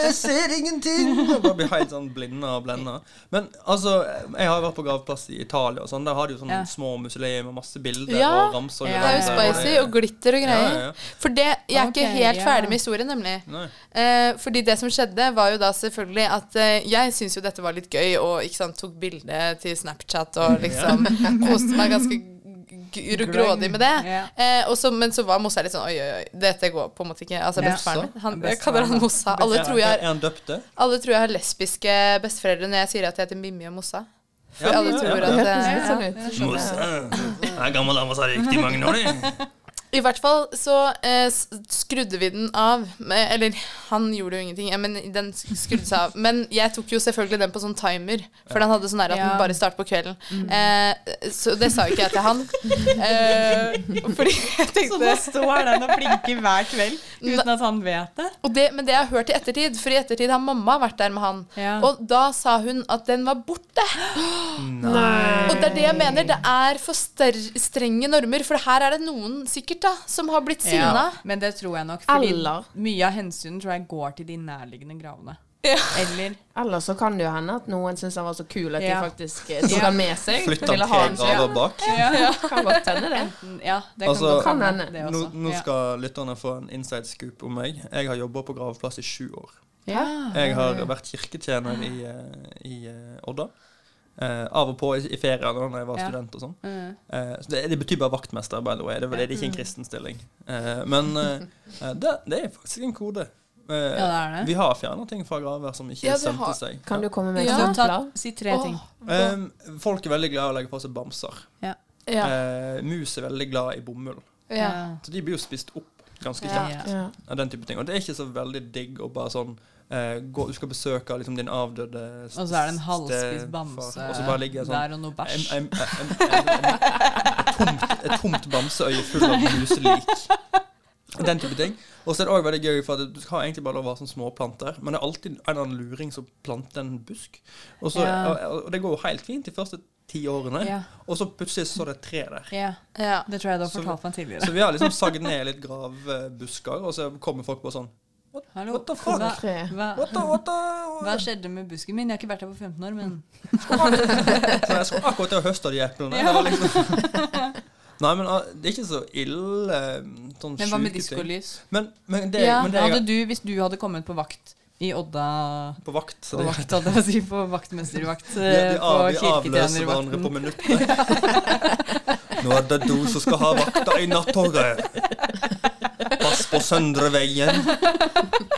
I: Jeg ser ingenting!
E: Og bare blir helt sånn blinda og blenda. Men altså, jeg har vært på gravplass i Italia og sånn. Der har de jo sånne
F: Ja.
E: små museum med masse bilder
F: Ja,
E: og ramser. og
F: det er jo
E: greier.
F: spicy og glitter og
E: Ja,
F: greier.
E: ja, ja.
F: For det, jeg er ikke
E: Ok,
F: helt
E: ja.
F: ferdig med historien, nemlig.
E: Nei.
F: Eh, fordi det som skjedde, var jo da selvfølgelig at eh, jeg syntes jo dette var litt gøy, og ikke sant, tok bilde til Snapchat
E: Mm,
F: og liksom
L: Ja.
F: koste meg ganske g- gr- grådig med det.
L: Ja.
F: Eh, og så- men så var Mossa litt sånn oi, oi, oi, dette går på en måte ikke. Altså
E: Ja.
F: bestefaren min. Han, jeg
E: Bestefaren,
F: kaller han
E: ja.
F: Mossa. Alle tror jeg
E: Er-
F: har
E: Er han døpt det?
F: alle tror jeg har lesbiske besteforeldre når jeg sier at jeg heter Mimmi og Mossa. For
E: Ja,
F: alle
E: ja,
F: tror
E: ja.
F: at
E: Det
F: eh,
E: høres
F: ja,
E: sånn
F: ja, skjønner jeg.
E: Ei gammel dame som har røykt i mange år, de.
F: I hvert fall så eh, s- skrudde vi den av. med- Eller han gjorde jo ingenting, ja, men den sk- skrudde seg av. Men jeg tok jo selvfølgelig den på sånn timer, for den hadde sånn her at
L: Ja.
F: den bare starter på kvelden.
L: Mm.
F: Eh, så det sa jo ikke jeg til han. Eh, fordi jeg tenkte
G: Så nå står den og blinker hver kveld uten at han vet det?
F: og det, men det jeg har hørt i ettertid, for i ettertid har mamma vært der med han. Og da sa hun at den var borte. Og det er det jeg mener. Det er for ster- strenge normer. For her er det noen sikkert da, som har blitt sinna.
G: Ja, men det tror jeg nok. Fordi
H: Eller-
G: mye av hensynet tror jeg går til de nærliggende gravene.
H: Eller så kan det jo hende at noen syns han var så kul at
G: Ja.
H: de faktisk eh, tok
G: Ja.
H: han med seg.
E: Flytta
H: Ville
E: han
H: ha
E: tre grader
H: Ja.
E: bak?
H: Ja, kan godt hende det.
G: Enten- ja, det
E: Altså,
G: kan godt hende. det
E: nå,
G: også.
E: nå
G: Ja.
E: skal lytterne få en inside scoop om meg. Jeg har jobba på gravplass i sju år.
G: Ja.
E: Jeg har vært kirketjener i, eh, i eh, Odda. eh, av og på i, i ferier da når jeg var
L: Ja.
E: student og sånn.
L: Mm.
E: Eh, så det, det betyr bare vaktmester, by the way. Det, er vel- det er
G: Mm.
E: ikke en kristen stilling. Eh, men eh, eh, det, det er faktisk en kode. Eh,
G: Ja, det er det.
E: Vi har fjerna ting fra graver som ikke
G: Ja, dere
E: stemte
G: har-
E: seg.
H: Kan du komme med
G: Ja.
H: eksempler?
G: Si tre ting.
E: Ehm, folk er veldig glad i å legge på seg bamser.
G: Ja.
F: Ja.
E: Eh, mus er veldig glad i bomull.
G: Eh,
F: Ja.
E: Så de blir jo spist opp ganske
F: Ja.
E: kjapt.
F: Ja.
E: Av den type ting. Og det er ikke så veldig digg å bare sånn eh, gå, Du skal besøke liksom, din avdøde s-
G: Og så er det en halvspist
E: stefar,
G: bamse
E: og så bare ligger jeg sånn,
G: der og noe bæsj.
E: em- em- em- em- em- Et tomt, et tomt bamseøye full av muselik. Den type ting. Og så er det òg veldig gøy, for at du har egentlig bare lov å ha sånne småplanter, men det er alltid en eller annen luring som planter en busk. Og, så,
G: Ja.
E: og, og det går jo helt fint de første ti årene,
G: Ja.
E: og så plutselig så er det et tre der.
G: Ja. Det tror jeg du har
E: Så-
G: fortalt meg tidligere.
E: Så vi har liksom sagd ned litt gravbusker, og så kommer folk på sånn What,
G: what the
E: fuck?
G: Hva,
E: Tre.
G: hva,
E: What the- what
G: hva skjedde med busken min? Jeg har ikke vært her på 15 år, men
E: Så jeg skulle akkurat til å høste de eplene.
G: Ja.
E: Det var Liksom. Nei, men ah, det er ikke så ille. Sånn
G: Men hva
E: sjuke
G: med
E: ting.
G: diskolys?
E: Men, men det,
G: ja,
E: men det
G: hadde du, Hvis du hadde komkommet på vakt i Odda
E: På vakt, så
G: på
E: det-
G: vakt, hadde jeg å si, på vaktmestervakt.
E: Vi- vi
G: eh,
E: av-
G: på
E: vi avløser hverandre på minuttene. Nå er det du som skal ha vakta i nattoget. Pass på søndre veien,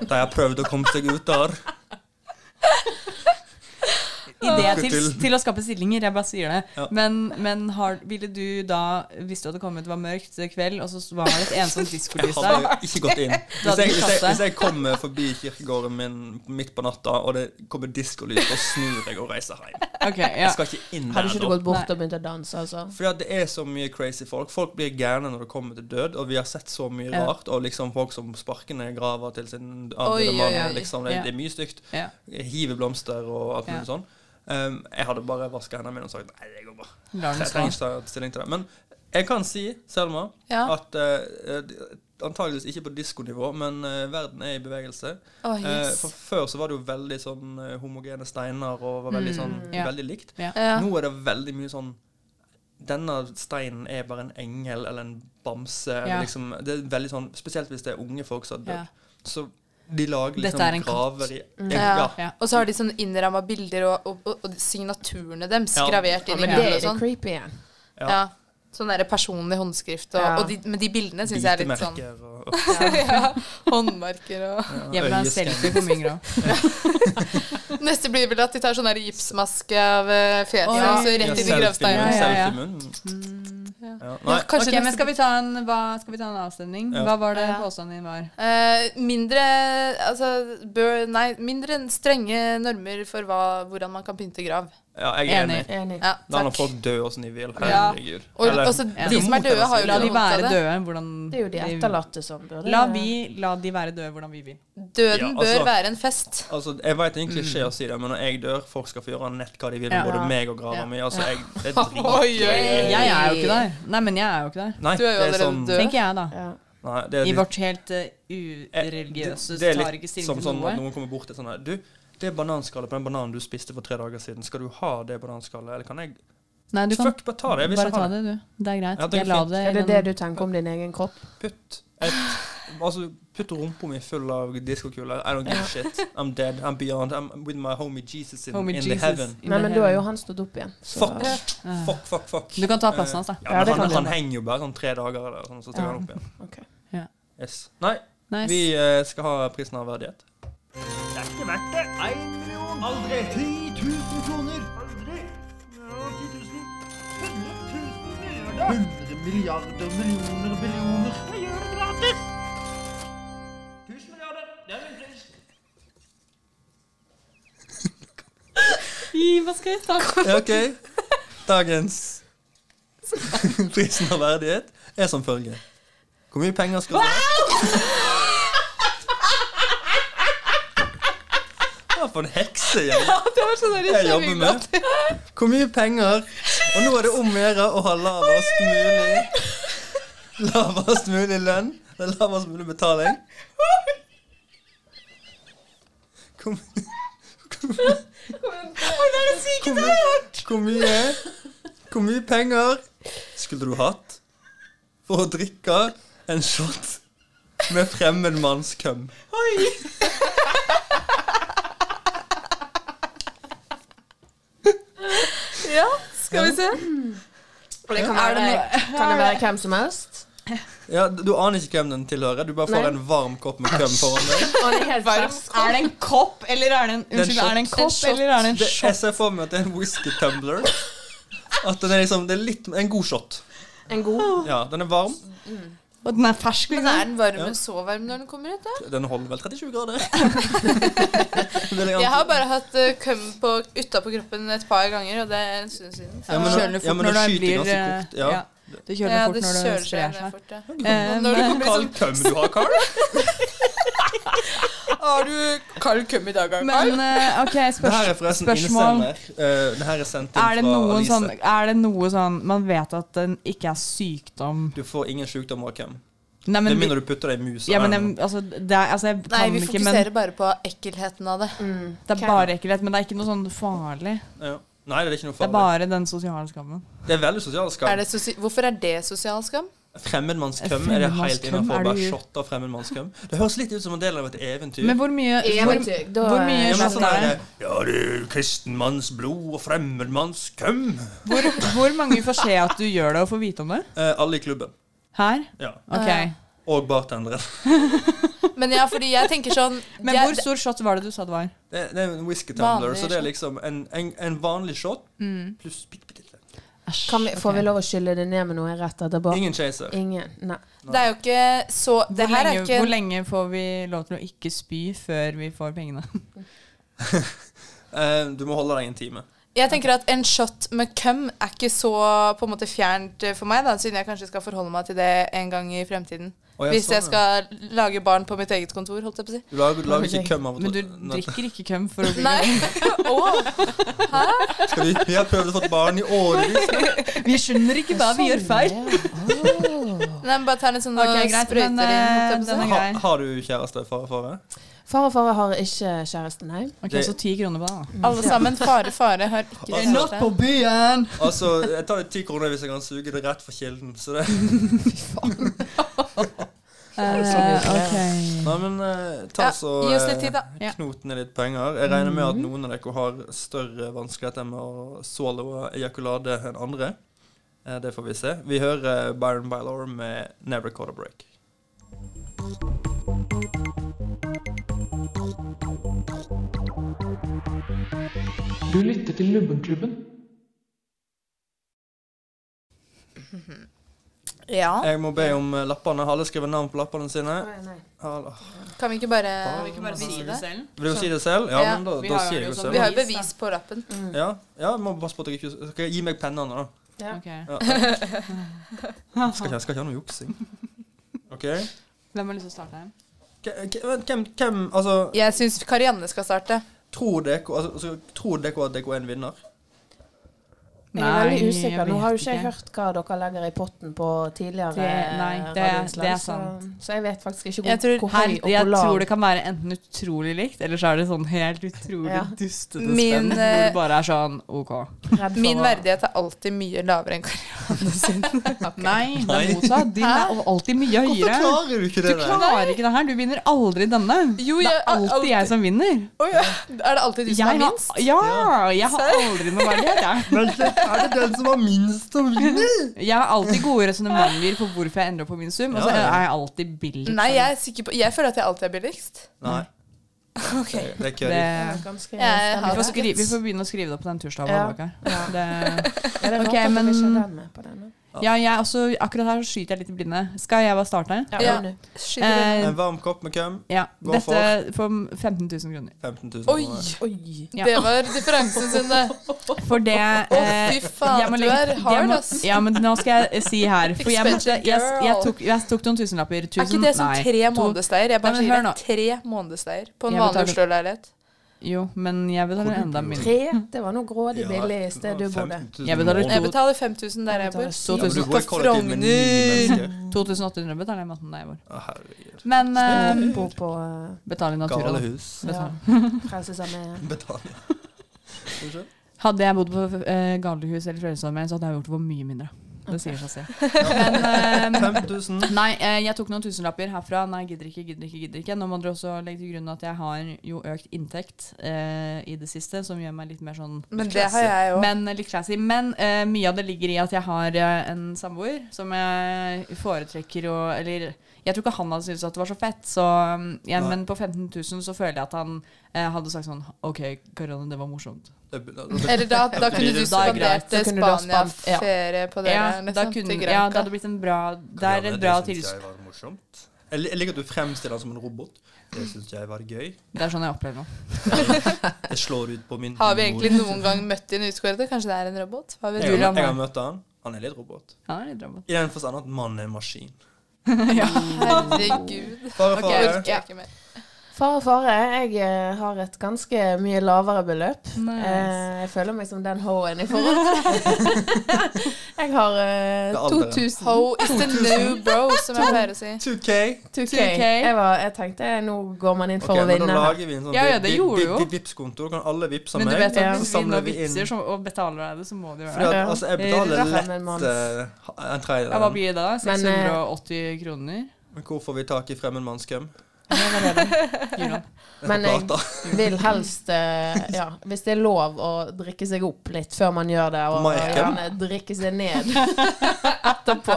E: der jeg prøvde å komme seg ut der.
G: Ideer
E: Lykke
G: til,
E: til.
G: til å skape stillinger, jeg bare sier det.
E: Ja.
G: Men, men har, ville du da, hvis du hadde kommet, det var mørkt kveld, og så var det et ensomt
E: Jeg
G: diskolys der
E: hadde jo ikke gått inn.
G: Du
E: Hvis
G: hadde
E: jeg,
G: ikke
E: hvis jeg,
G: tatt
E: hvis
G: det.
E: jeg kommer forbi kirkegården min midt på natta, og det kommer diskolys, da snur jeg og reiser hjem.
G: Ok, ja.
E: Jeg skal ikke inn
H: Hadde
E: der
H: ikke du
E: da.
H: gått bort og begynt å danse, altså?
E: Fordi at det er så mye crazy folk. Folk blir gærne når det kommer til død, og vi har sett så mye
G: Ja.
E: rart. Og liksom folk som sparker ned grava til sin
G: Oi,
E: avdøde
G: oi,
E: mann.
G: oi.
E: Liksom. Det,
G: Ja.
E: det er mye stygt.
G: Ja.
E: Hiver blomster og alt mulig
G: Ja.
E: sånn. Um, jeg hadde bare vaska hendene mine og sagt nei, det går bra.
G: Lar den
E: Jeg trenger ikke ta stilling til det. Men jeg kan si, Selma,
F: Ja.
E: at eh, eh, antageligvis ikke på diskonivå, men eh, verden er i bevegelse.
F: Å, yes.
E: Eh, for før så var det jo veldig sånn eh, homogene steiner og var veldig, sånn,
F: Mm, ja.
E: veldig likt.
F: Ja. Ja.
E: Nå er det veldig mye sånn denne steinen er bare en engel eller en bamse.
G: Ja.
E: Eller liksom, det er veldig sånn, Spesielt hvis det er unge folk som har
F: Ja.
E: dødd. Så de lager liksom
G: Dette er en katt.
E: graver i
G: Mm.
E: Ja.
F: Ja.
E: ja.
F: Og så har de sånn innramma bilder og, og, og, og signaturene deres
E: Ja.
F: gravert inn
E: Ja,
F: i
E: men
F: gull
E: det er
F: og sånn.
H: det creepy igjen.
E: Ja.
F: Ja. Sånn derre personlig håndskrift og,
E: Ja.
F: og de, Men de bildene syns jeg er litt sånn
E: Bitemerker og-
F: ja. Håndmarker og
E: Ja, Jeg vil ha en øyeskanner. selfie på min grav.
F: Ja. Neste blir vel at de tar sånn der gipsmaske av eh, fjeset
G: Å, ja.
F: og så rett inn i gravsteinen.
E: Ja,
G: Ja, ja, ja.
E: selfie-munn. Ja.
G: Ja,
E: Nei,
G: kanskje Ok, men skal vi ta en, hva, skal vi ta en avstemning?
E: Ja.
G: Hva var det påstanden din var?
F: Eh, mindre altså, bør, nei, mindre enn strenge normer for hva, hvordan man kan pynte grav.
E: ja, jeg er enig.
F: Ja,
E: La nå
F: takk.
E: folk dø åssen de vil.
F: Ja.
E: Herregud.
F: Og-
E: Eller-
F: også de
E: Det er
F: som er
E: mot
F: døde
E: deres
F: har jo
E: vilje.
G: La de være
F: det.
G: døde. Hvordan
H: Det er jo de etterlatte som burde
G: La, vi, la de være døde hvordan vi vil.
F: Døden
E: Ja,
F: bør
E: altså-
F: være en fest.
E: Altså, jeg vet det er en klisjé å si det, men når jeg dør, folk skal få gjøre nett hva de vil med
G: Ja.
E: både
G: Ja.
E: meg og grava
G: Ja.
E: mi. Altså,
G: Ja.
E: jeg, det er drit.
G: Jeg er jo ikke der. Nei, men jeg er jo ikke der.
E: Nei, Du er jo det er allerede sånn- død.
G: Tenker jeg, da.
E: Nei, det er
G: I
E: litt- Eh,
G: vårt helt eh, ureligiøse
E: det er
G: tar ikke
E: litt som
G: stilling til
E: sånn at
G: noe.
E: noen kommer bort til sånn her Du, det bananskallet på den bananen du spiste for tre dager siden, skal du ha det bananskallet, eller kan jeg
G: Nei, du kan
E: Fuck, bare ta det. Jeg vil
G: bare
E: ikke ha
G: ta det, du. Det er greit.
E: Ja, det er
G: Jeg la
E: fint.
G: det
H: Er det det du tenker om din egen kropp?
E: Putt et Altså, putt rumpa mi full av diskokuler. I don't give a shit. I'm dead. I'm beyond. I'm with my homie Jesus in,
G: Homie
E: in
G: Jesus
E: the heaven.
H: Nei, men da er jo han stått opp igjen. så-
E: Fuck. Fuck, fuck, fuck.
G: Du kan ta plassen hans, da.
E: Eh, Ja,
G: Ja,
E: men
G: det
E: han,
G: kan du
E: han
G: gjøre.
E: henger jo bare sånn tre dager, eller sånn, så tar
G: Ja.
E: han opp igjen.
H: Ok.
G: Ja.
E: Yes. Nei,
G: Nice.
E: vi eh, skal ha prisen av verdighet.
I: Det er ikke verdt det. Én million. Aldri. 10 000 kroner. Aldri. Ja, 10 000. 100 000 milliarder. 100 milliarder millioner millioner. Jeg gjør det gratis. 1000 milliarder. Det er min pris.
G: Gi, Hva skal jeg ta?
E: Ja, OK. Dagens prisen av verdighet er som følger. Hvor mye penger skal du ha? Hva for en heksegjeng
G: det var sånn
E: jeg jobber med. Hvor mye penger Og nå er det om å gjøre å ha lavest mulig Lavest mulig lønn. Eller lavest mulig betaling. Hvor mye
I: Hvordan er det sykeste
E: jeg har hørt? Hvor mye Hvor mye penger skulle du hatt for å drikke en shot med fremmed manns køm?
I: Oi.
H: Skal vi se. Det kan
F: Er det
H: være,
F: noe-
H: kan det være hvem som helst.
E: Ja, du aner ikke hvem den tilhører. Du bare får
H: Nei.
E: en varm kopp med køm foran deg.
G: Er det en kopp, eller er det en
E: Det er en shot.
G: Unnskyld, er det en kopp, eller er det en
E: Det- Jeg
G: shot?
E: ser for meg at det er en whisky tumbler. At den er liksom, det er litt, en god shot.
H: En god?
E: Ja, den er varm.
G: Og den er fersk, liksom.
F: Men er den varm,
E: Ja.
F: men så varm når den kommer ut, da?
E: Den holder vel 37 grader.
F: Jeg har bare hatt eh, køm på, utapå kroppen et par ganger, og det er en stund siden.
E: Ja, men- Kjøler fort ja, men når det den skyter blir, ganske eh, fort, ja. ja.
G: Det kjøler
F: Ja,
G: fort
F: det
G: når det
F: kjøler
G: sprer
F: seg
G: seg.
F: fort, ja.
G: Eh,
F: Når det sånn
G: men-
F: kommer
E: Kald køm du har, Carl.
F: Har du kald køm i dag, Karl?
G: Men eh, OK,
E: Det her er
G: spørs
E: forresten
G: spørsmål.
E: innesender. Eh, det her er sendt inn
G: Er det,
E: fra
G: noen
E: Alice.
G: sånn, er det noe sånn Man vet at den ikke er sykdom
E: Du får ingen sykdom av køm.
G: Nei, men
E: Med
G: vi-
E: mindre du putter det i mus. og
G: Ja, men
E: ørn.
G: jeg, altså, det er, altså, jeg
F: Nei,
G: kan
F: vi
G: ikke, men
F: fokuserer bare på ekkelheten av det.
G: det er bare ekkelhet. Men det er ikke noe sånn farlig.
E: Ja. Nei, det er ikke noe
G: Det er
E: farlig.
G: bare den sosiale skammen.
E: Det er veldig sosial skam.
F: Er det sosi Hvorfor er det sosial skam?
E: Fremmedmannskøm er det helt
G: Fremmedmannskøm,
E: innafor.
G: er
E: Bare
G: du-
E: shot av fremmedmannskøm. Det høres litt ut som en del av et eventyr.
G: Men hvor mye, hvor,
H: Eventyr, da-
G: hvor mye
E: Ja, men
G: shot
E: sånn
G: er det?
E: der, Ja, det er kristenmanns blod og fremmedmanns køm.
G: Hvor, hvor mange får se at du gjør det, og får vite om det?
E: Eh, alle i klubben.
G: Her? Eh,
E: Ja.
G: Ok.
E: Og bartenderen.
F: Men ja, fordi jeg tenker sånn
G: Men
F: jeg-
G: hvor stor shot var det du sa det var?
E: Det, det er en whisky tumbler,
F: Vanlig
E: så det er
F: shot. Mm.
E: liksom en, en, en vanlig shot pluss bitte, bitte litt.
H: eh, Kan vi, får vi lov å skylle det ned med noe rett etterpå?
E: Ingen chaser.
H: Ingen. Nei.
F: Det er jo ikke så Det
G: Hvor
F: her er
G: lenge,
F: ikke
G: hvor lenge får vi lov til å ikke spy før vi får pengene?
E: Eh, du må holde deg en time.
F: Jeg tenker at en shot med køm er ikke så på en måte fjernt eh, for meg, da, siden jeg kanskje skal forholde meg til det en gang i fremtiden.
E: Å, ja,
F: Hvis jeg
E: sånn,
F: skal lage barn på mitt eget kontor, holdt jeg på å si.
E: Du lager, du lager ikke køm av
G: Men du
E: Nei.
G: drikker ikke køm for å bli
F: Nei. Å,
E: Skal vi, vi har prøvd å få et barn i årevis.
G: Vi skjønner ikke hva vi gjør
H: Sånn.
G: feil.
F: Nei, men bare ta en sånn
G: Ok,
F: og
G: greit,
F: sprøyter
G: men, eh,
F: inn.
G: den
F: holdt jeg på å si.
G: er
E: Ha,
G: grei.
E: har du kjæreste, fare, fare?
H: Far og fare har ikke kjæreste, nei.
G: Ok,
E: Det-
G: Så ti kroner på det, da.
F: Alle sammen, fare, fare, har ikke
E: Altså-
F: kjæreste.
G: byen!
E: Altså, jeg tar det ti kroner hvis jeg kan suge det rett fra kilden. Så det. Nei, men eh, ta
F: Mm. Ja,
E: så
F: gi oss litt
E: eh,
F: tid, da.
G: Ja. Mhm.
E: knot ned litt penger. Jeg regner med at noen av dere har større vanskeligheter med å swallow ejakulade enn andre. Eh, Det får vi se. Vi hører eh, Byron Bylor med 'Never Caught a Break'.
A: Du lytter til Lubbenklubben.
F: Ja,
E: Jeg må be om eh, lappene. Har alle skrevet navn på lappene sine? Alle.
F: kan vi ikke bare,
E: si
F: vise det?
E: Vil du si det selv? Ja,
F: Ja.
E: men da,
G: Vi
E: da
G: har
E: sier
G: jo
E: jeg det
G: sånn-
F: Vi
E: selv.
F: har jo bevis på lappen.
E: Ja, ja, jeg må passe på at jeg ikke skal jeg Gi meg pennene, da. Ja. Skal ikke, jeg skal ikke ha noe juksing. OK?
G: Hvem har lyst til å starte her?
E: K- k- vent, Hvem, hvem Altså,
F: Jeg syns Karianne skal starte.
E: tror dere altså, altså, tror dere at dere er en vinner?
H: Jeg er veldig
G: jeg
H: usikker.
G: vet
H: Nå har jo ikke jeg
G: ikke.
H: hørt hva dere legger i potten på tidligere
G: Det- nei, det er- det
H: radioinnslag,
G: er
H: Så,
G: sant.
H: så jeg vet faktisk ikke
F: Jeg
H: hvor,
F: tror-
H: hvor høy
G: Her,
H: og
G: jeg
H: hvor lav
G: tror det kan være enten utrolig likt, eller så er det sånn helt utrolig
H: Ja.
G: dustete
F: Min,
G: spenn hvor
F: eh,
G: det bare er sånn OK.
H: redd for
F: Min
H: å-
F: verdighet er alltid mye lavere enn Karianne.
G: Nei, det
E: Nei.
G: er motsatt. Din er alltid mye høyere.
E: klarer du ikke
G: Du klarer ikke det her. Du vinner aldri denne.
F: Jo,
G: Det
F: jeg
G: er
F: er
G: alltid jeg som vinner.
F: Å ja. Er det alltid du
G: Jeg
F: som er
G: har,
F: minst?
G: ja, jeg har aldri noe verdighet. jeg.
E: Men er det den som har minst som vinner?
G: Jeg har alltid gode resonnementer for hvorfor jeg endrer opp på min sum. Og så
E: Ja, ja.
G: er jeg alltid billig.
F: Nei, jeg er sikker på Jeg føler at jeg alltid er billigst.
E: Nei.
F: Ok.
E: Det er
G: Det,
E: kødd.
H: Ja, ganske
F: Jeg
G: vi,
F: har
G: får
F: det.
G: skri, vi får begynne å skrive det opp på den tirsdagen.
H: Ja.
G: bak her. Det,
H: Ja, det er
G: Ok,
H: rart at
G: men-
H: vi ikke har den med på denne.
G: ja, jeg, også, akkurat her så skyter jeg litt i blinde. Skal jeg bare starte?
F: Ja.
H: Ronny.
F: Skyter
G: Eh,
E: En varm kopp med køm.
G: ja.
E: Gå
G: Dette for 15 000 kroner.
E: 15 000
F: du. Oi!
E: kroner.
H: Oi.
G: Ja.
F: Det var differansen sin, det.
G: For det
F: Å,
G: eh,
F: fy faen, du er
G: jeg
F: hard,
G: må,
F: ass.
G: ja, men nå skal jeg eh, si her For jeg, måtte,
F: Expensive
G: jeg, jeg,
F: girl.
G: tok, jeg tok noen tusenlapper.
F: Er ikke
G: Tusen,
F: det som
G: nei,
F: tre
G: to-
F: månedsleier? Jeg bare
G: Nei, men hør
F: sier det.
G: nå.
F: Tre månedsleier på en
G: Jeg
F: vanlig
G: betaler-
F: Oslo-leihet.
G: Jo, men jeg betaler enda mindre.
H: Tre? Det var noe grådig billig i stedet du bodde.
E: 15 000
G: Jeg betaler
E: kroner.
G: to-
F: Jeg betaler 5000 der jeg bor.
E: Ja, men du
G: 2000.
E: bor i kollektiv med ni mennesker.
G: 2800 betaler jeg maten der jeg bor.
E: Å, herregud.
G: Men eh,
H: Jeg bor på eh,
G: betaler i natura.
E: Gale
G: da.
E: hus.
H: ja,
G: Betaler.
H: Frelsesarmeen.
E: Betaler. Unnskyld?
G: Hadde jeg bodd på eh, galehus eller Frelsesarmeen, så hadde jeg gjort det for mye mindre. Det sier seg selv.
L: Ok.
G: Men, eh,
E: 5000.
G: Nei, eh, jeg tok noen tusenlapper herfra. Nei, gidder ikke, gidder ikke, gidder ikke. Nå må dere også legge til grunn at jeg har jo økt inntekt eh, i det siste, som gjør meg litt mer sånn
F: Men
G: litt
F: det har
G: classy.
F: jeg også.
G: Men, eh, litt classy. Men eh, mye av det ligger i at jeg har eh, en samboer som jeg foretrekker å Eller jeg tror ikke han hadde syntes at det var så fett, så mm, ja,
E: Nei.
G: Men på 15 000 så føler jeg at han eh, hadde sagt sånn OK, Karianne, det var morsomt.
F: Eller da- da kunne du
G: Da er det greit.
F: spandert
G: Da kunne du ha spand- ja.
F: Spania-ferie på dere,
G: Ja, da
F: liksom, til
G: kunne, ja,
F: Granca.
G: det hadde blitt en bra Det er et bra tilskudd.
E: var morsomt. Jeg lik- jeg liker at du fremstiller den som en robot. Det syns jeg var gøy.
G: Det er sånn jeg opplever nå.
E: Det slår ut på min
F: Har vi egentlig
E: humor.
F: noen gang møtt din utkårede? Kanskje det er en robot? Hva vet
E: Jeg
F: du?
E: har, jeg har møtt han. Han er litt robot.
G: Han er litt robot.
E: I den forstand at mannen er en maskin.
F: Herregud.
E: Fare,
F: Ok,
E: fare.
F: jeg orker ikke mer.
H: Fare, fare. Jeg eh, har et ganske mye lavere beløp. Eh, jeg føler meg som den hoen i forhold. jeg har
F: Det
H: eh,
F: er alderen.
H: 2000.
F: Ho is the new bro, som jeg pleier å si.
E: 2K.
H: 2K.
F: 2K.
H: Jeg, var, jeg tenkte nå går man inn
E: Ok,
H: for å
E: men
H: vinne.
E: Da
H: her.
E: lager vi en sånn
G: Ja, ja, det
E: vi- vi-
G: gjorde
E: vi-
G: jo.
E: vi- Vipps-konto. Kan alle vippse meg?
G: Men du vet at
E: så
G: hvis vi
E: samler
G: nå
E: vi inn-
G: vitser så, og betaler deg det, så må det jo
E: Fordi
G: være
E: at, altså, jeg betaler lett eh, en tredjedel.
G: Ja, hva blir det da?
H: Men, eh,
G: 680 kroner?
E: Men hvor får vi tak i fremmedmannskum?
H: Men jeg
E: Plata.
H: vil helst, eh, ja, hvis det er lov å drikke seg opp litt før man gjør det, og
E: På marken?
H: gjerne drikke seg ned etterpå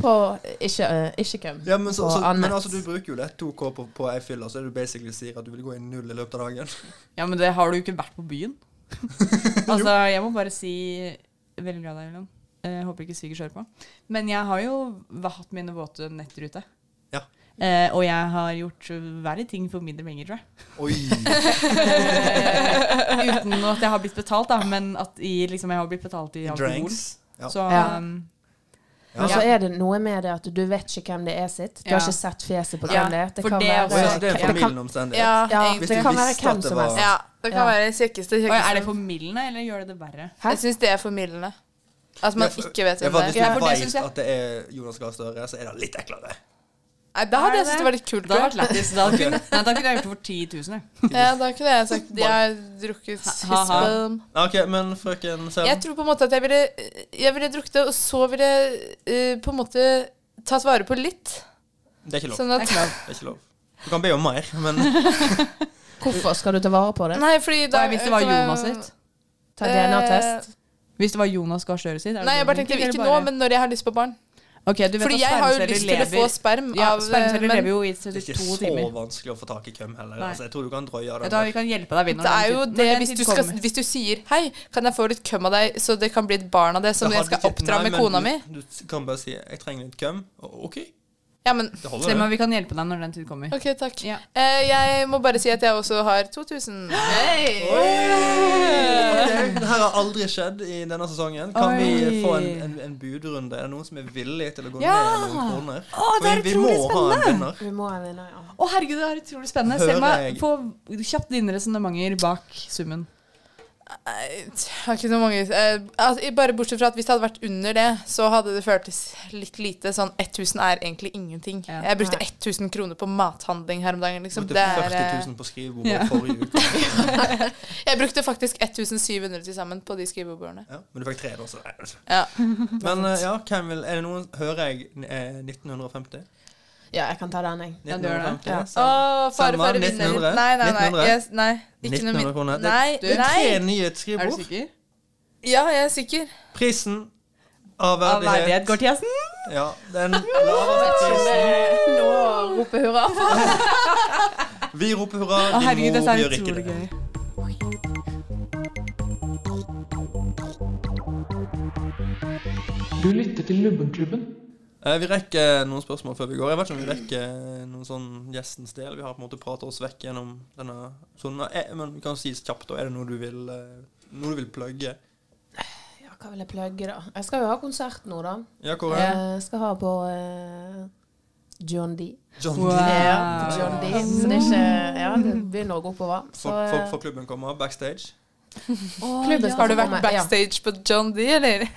H: på ikke, uh, ikke køm.
E: Ja, men, så,
H: på
E: så, men
H: annet.
E: altså, du bruker jo lett 2K på, på ei fylla, så er du basically sier at du vil gå i null i løpet av dagen.
G: Ja, men det har du jo ikke vært på byen. altså, jeg må bare si Veldig glad i deg, Wilhelm. Eh, håper ikke svigers hører på. Men jeg har jo va- hatt mine våte netter ute.
E: Ja.
G: Eh, og jeg har gjort verre ting for mindre penger, tror jeg.
E: Oi.
G: eh, uten at jeg har blitt betalt, da, men at i, liksom, jeg har blitt betalt i alkohol.
E: Drinks. Ja.
G: Så
H: Ja.
G: um,
H: Men så er det noe med det at du vet ikke hvem det er sitt. Du
G: Ja.
H: har ikke sett fjeset på
G: Ja,
H: hvem det er. Det
G: for
H: kan
G: det er
H: være,
G: også- Ja, så det er en
H: kan-
E: formildende omstendighet.
H: Ja,
F: Ja,
H: egentlig. det kan være hvem som helst.
F: Ja, det kan
H: Ja.
F: være den kjekkeste
G: Oi, er det
F: kjekkeste.
G: formildende, eller gjør det det verre?
F: Jeg syns det er formildende. At
E: Ja,
F: man
E: for-
F: ikke vet
E: ja,
F: hvem
E: for
F: det
E: Hvis
F: er.
E: du
F: Ja, for det
E: vet
F: synes jeg-
E: at det er Jonas Gahr Støre, så er det litt eklere.
F: Nei, Da hadde
G: Er
F: jeg syntes det var litt kult.
G: Det hadde vært
F: tror jeg.
G: lættis. Da, kunne- nei, da kunne jeg gjort det for 10 000, jeg.
F: Ja, da kunne jeg sagt jeg har drukket
G: Ha, ha.
F: hispen.
E: OK, men frøken Selv.
F: Jeg tror på en måte at jeg ville, jeg ville drukket det, og så ville jeg eh, på en måte tatt vare på litt.
E: Det er ikke lov.
F: Sånn at-
E: det, er ikke lov. Du kan be om mer, men
H: Hvorfor skal du ta vare på det?
F: Nei, fordi da
G: Hva er hvis det var
F: kan jeg-
G: Jonas sitt?
H: Ta DNA-test.
G: Hvis det var Jonas Gahr Støre sitt? er det
F: Nei, jeg
G: sånn
F: bare
G: du
F: tenkte
G: tenker,
F: ikke
G: eller
F: nå,
G: bare-
F: men når jeg har lyst på barn.
G: Ok, du vet
F: Fordi
G: at
F: jeg har jo
G: spermceller
F: lyst til å
G: lever-
F: få sperm
G: ja,
F: av, eh,
G: Spermceller
F: men-
G: lever jo i
E: det er
G: 72
E: ikke så
G: timer.
E: vanskelig å få tak i køm heller.
G: Nei.
E: Altså, jeg tror du kan drøye
G: Ja,
E: den.
G: da vi kan hjelpe deg å vinne.
F: Det er jo det hvis du, skal, hvis du sier 'hei, kan jeg få litt køm av deg', så det kan bli et barn av det som
E: Det
F: jeg
E: hadde
F: skal
E: ikke-
F: oppdra
E: nei,
F: med
E: men
F: kona
E: du-
F: mi?
E: Du kan bare si 'jeg trenger litt køm'. O- OK.
F: Ja, men
E: Det holder,
G: Selma,
E: det.
G: vi kan hjelpe deg når den tid kommer.
F: Ok, takk. Eh, jeg må bare si at jeg også har 2000.
E: Ok, Det her har aldri skjedd i denne sesongen. Kan
G: Oi.
E: vi få en, en, en budrunde? Er det noen som er villig til å gå
G: Ja.
E: ned noen kroner?
G: Å, det er
E: For vi, vi må
G: utrolig
E: ha en
G: spennende.
E: vinner.
H: Vi må ha en vinner, ja.
G: Å, herregud, det er utrolig spennende.
E: Hører
G: Selma,
E: jeg-
G: få kjapt dine resonnementer bak summen.
F: Jeg har ikke så mange eh, altså, Bare bortsett fra at hvis det hadde vært under det, så hadde det føltes litt lite. Sånn 1000 er egentlig ingenting. Jeg brukte 1000 kroner på mathandling her om dagen. Liksom.
E: Brukte
F: Det er, eh,
E: 40 000 på skrivebordet
F: ja.
E: forrige uke.
F: jeg brukte faktisk 1700 til sammen på de skrivebordene.
E: Ja, men du fikk tre, da. Så. nei, altså.
F: Ja.
E: Men eh, ja, hvem vil Er det noen Hører jeg eh, 1950?
H: Ja, jeg kan ta den, jeg.
E: Ja, du gjør det. 1950,
H: Ja.
E: så-
F: Å, fare,
E: Selma,
F: fare, vinner.
E: 1900?
F: Nei, nei, nei.
E: 1900?
F: Yes, nei. Ikke noe
E: 1900 kroner. Det-
F: Nei,
E: det er
F: nei.
E: tre nye skrivebord.
G: Er du sikker?
F: Ja, jeg er sikker.
E: Prisen av
G: Av
E: verdighet.
G: verdighet går til gjesten.
E: Ja, den laveste
G: Eh,
E: prisen.
H: Nå roper hurra for
E: Vi roper hurra.
G: Å,
E: Din
G: herregud,
E: mor
G: dette er
E: gjør ikke
G: utrolig
E: det.
G: gøy.
A: Du lytter til Lubbenklubben.
E: Eh, Vi rekker noen spørsmål før vi går. Jeg vet ikke om vi rekker noen sånn gjestens del. Vi har på en måte pratet oss vekk gjennom denne sånn, eh, Men vi kan si kjapt, da. Er det noe du vil, eh, noe du vil plugge?
H: Ja, hva vil jeg plugge, da? Jeg skal jo ha konsert nå, da.
E: Ja, hvor er det?
H: Jeg skal ha på eh, John D.
E: John
G: Wow.
E: D.
H: Ja, på John D. Så det er ikke Ja, det begynner å gå oppover. Så
E: Folk, folk
H: eh,
E: fra klubben kommer backstage.
H: klubben
F: Har
H: skal
F: du
H: få
F: vært
H: komme.
F: backstage på John D, eller?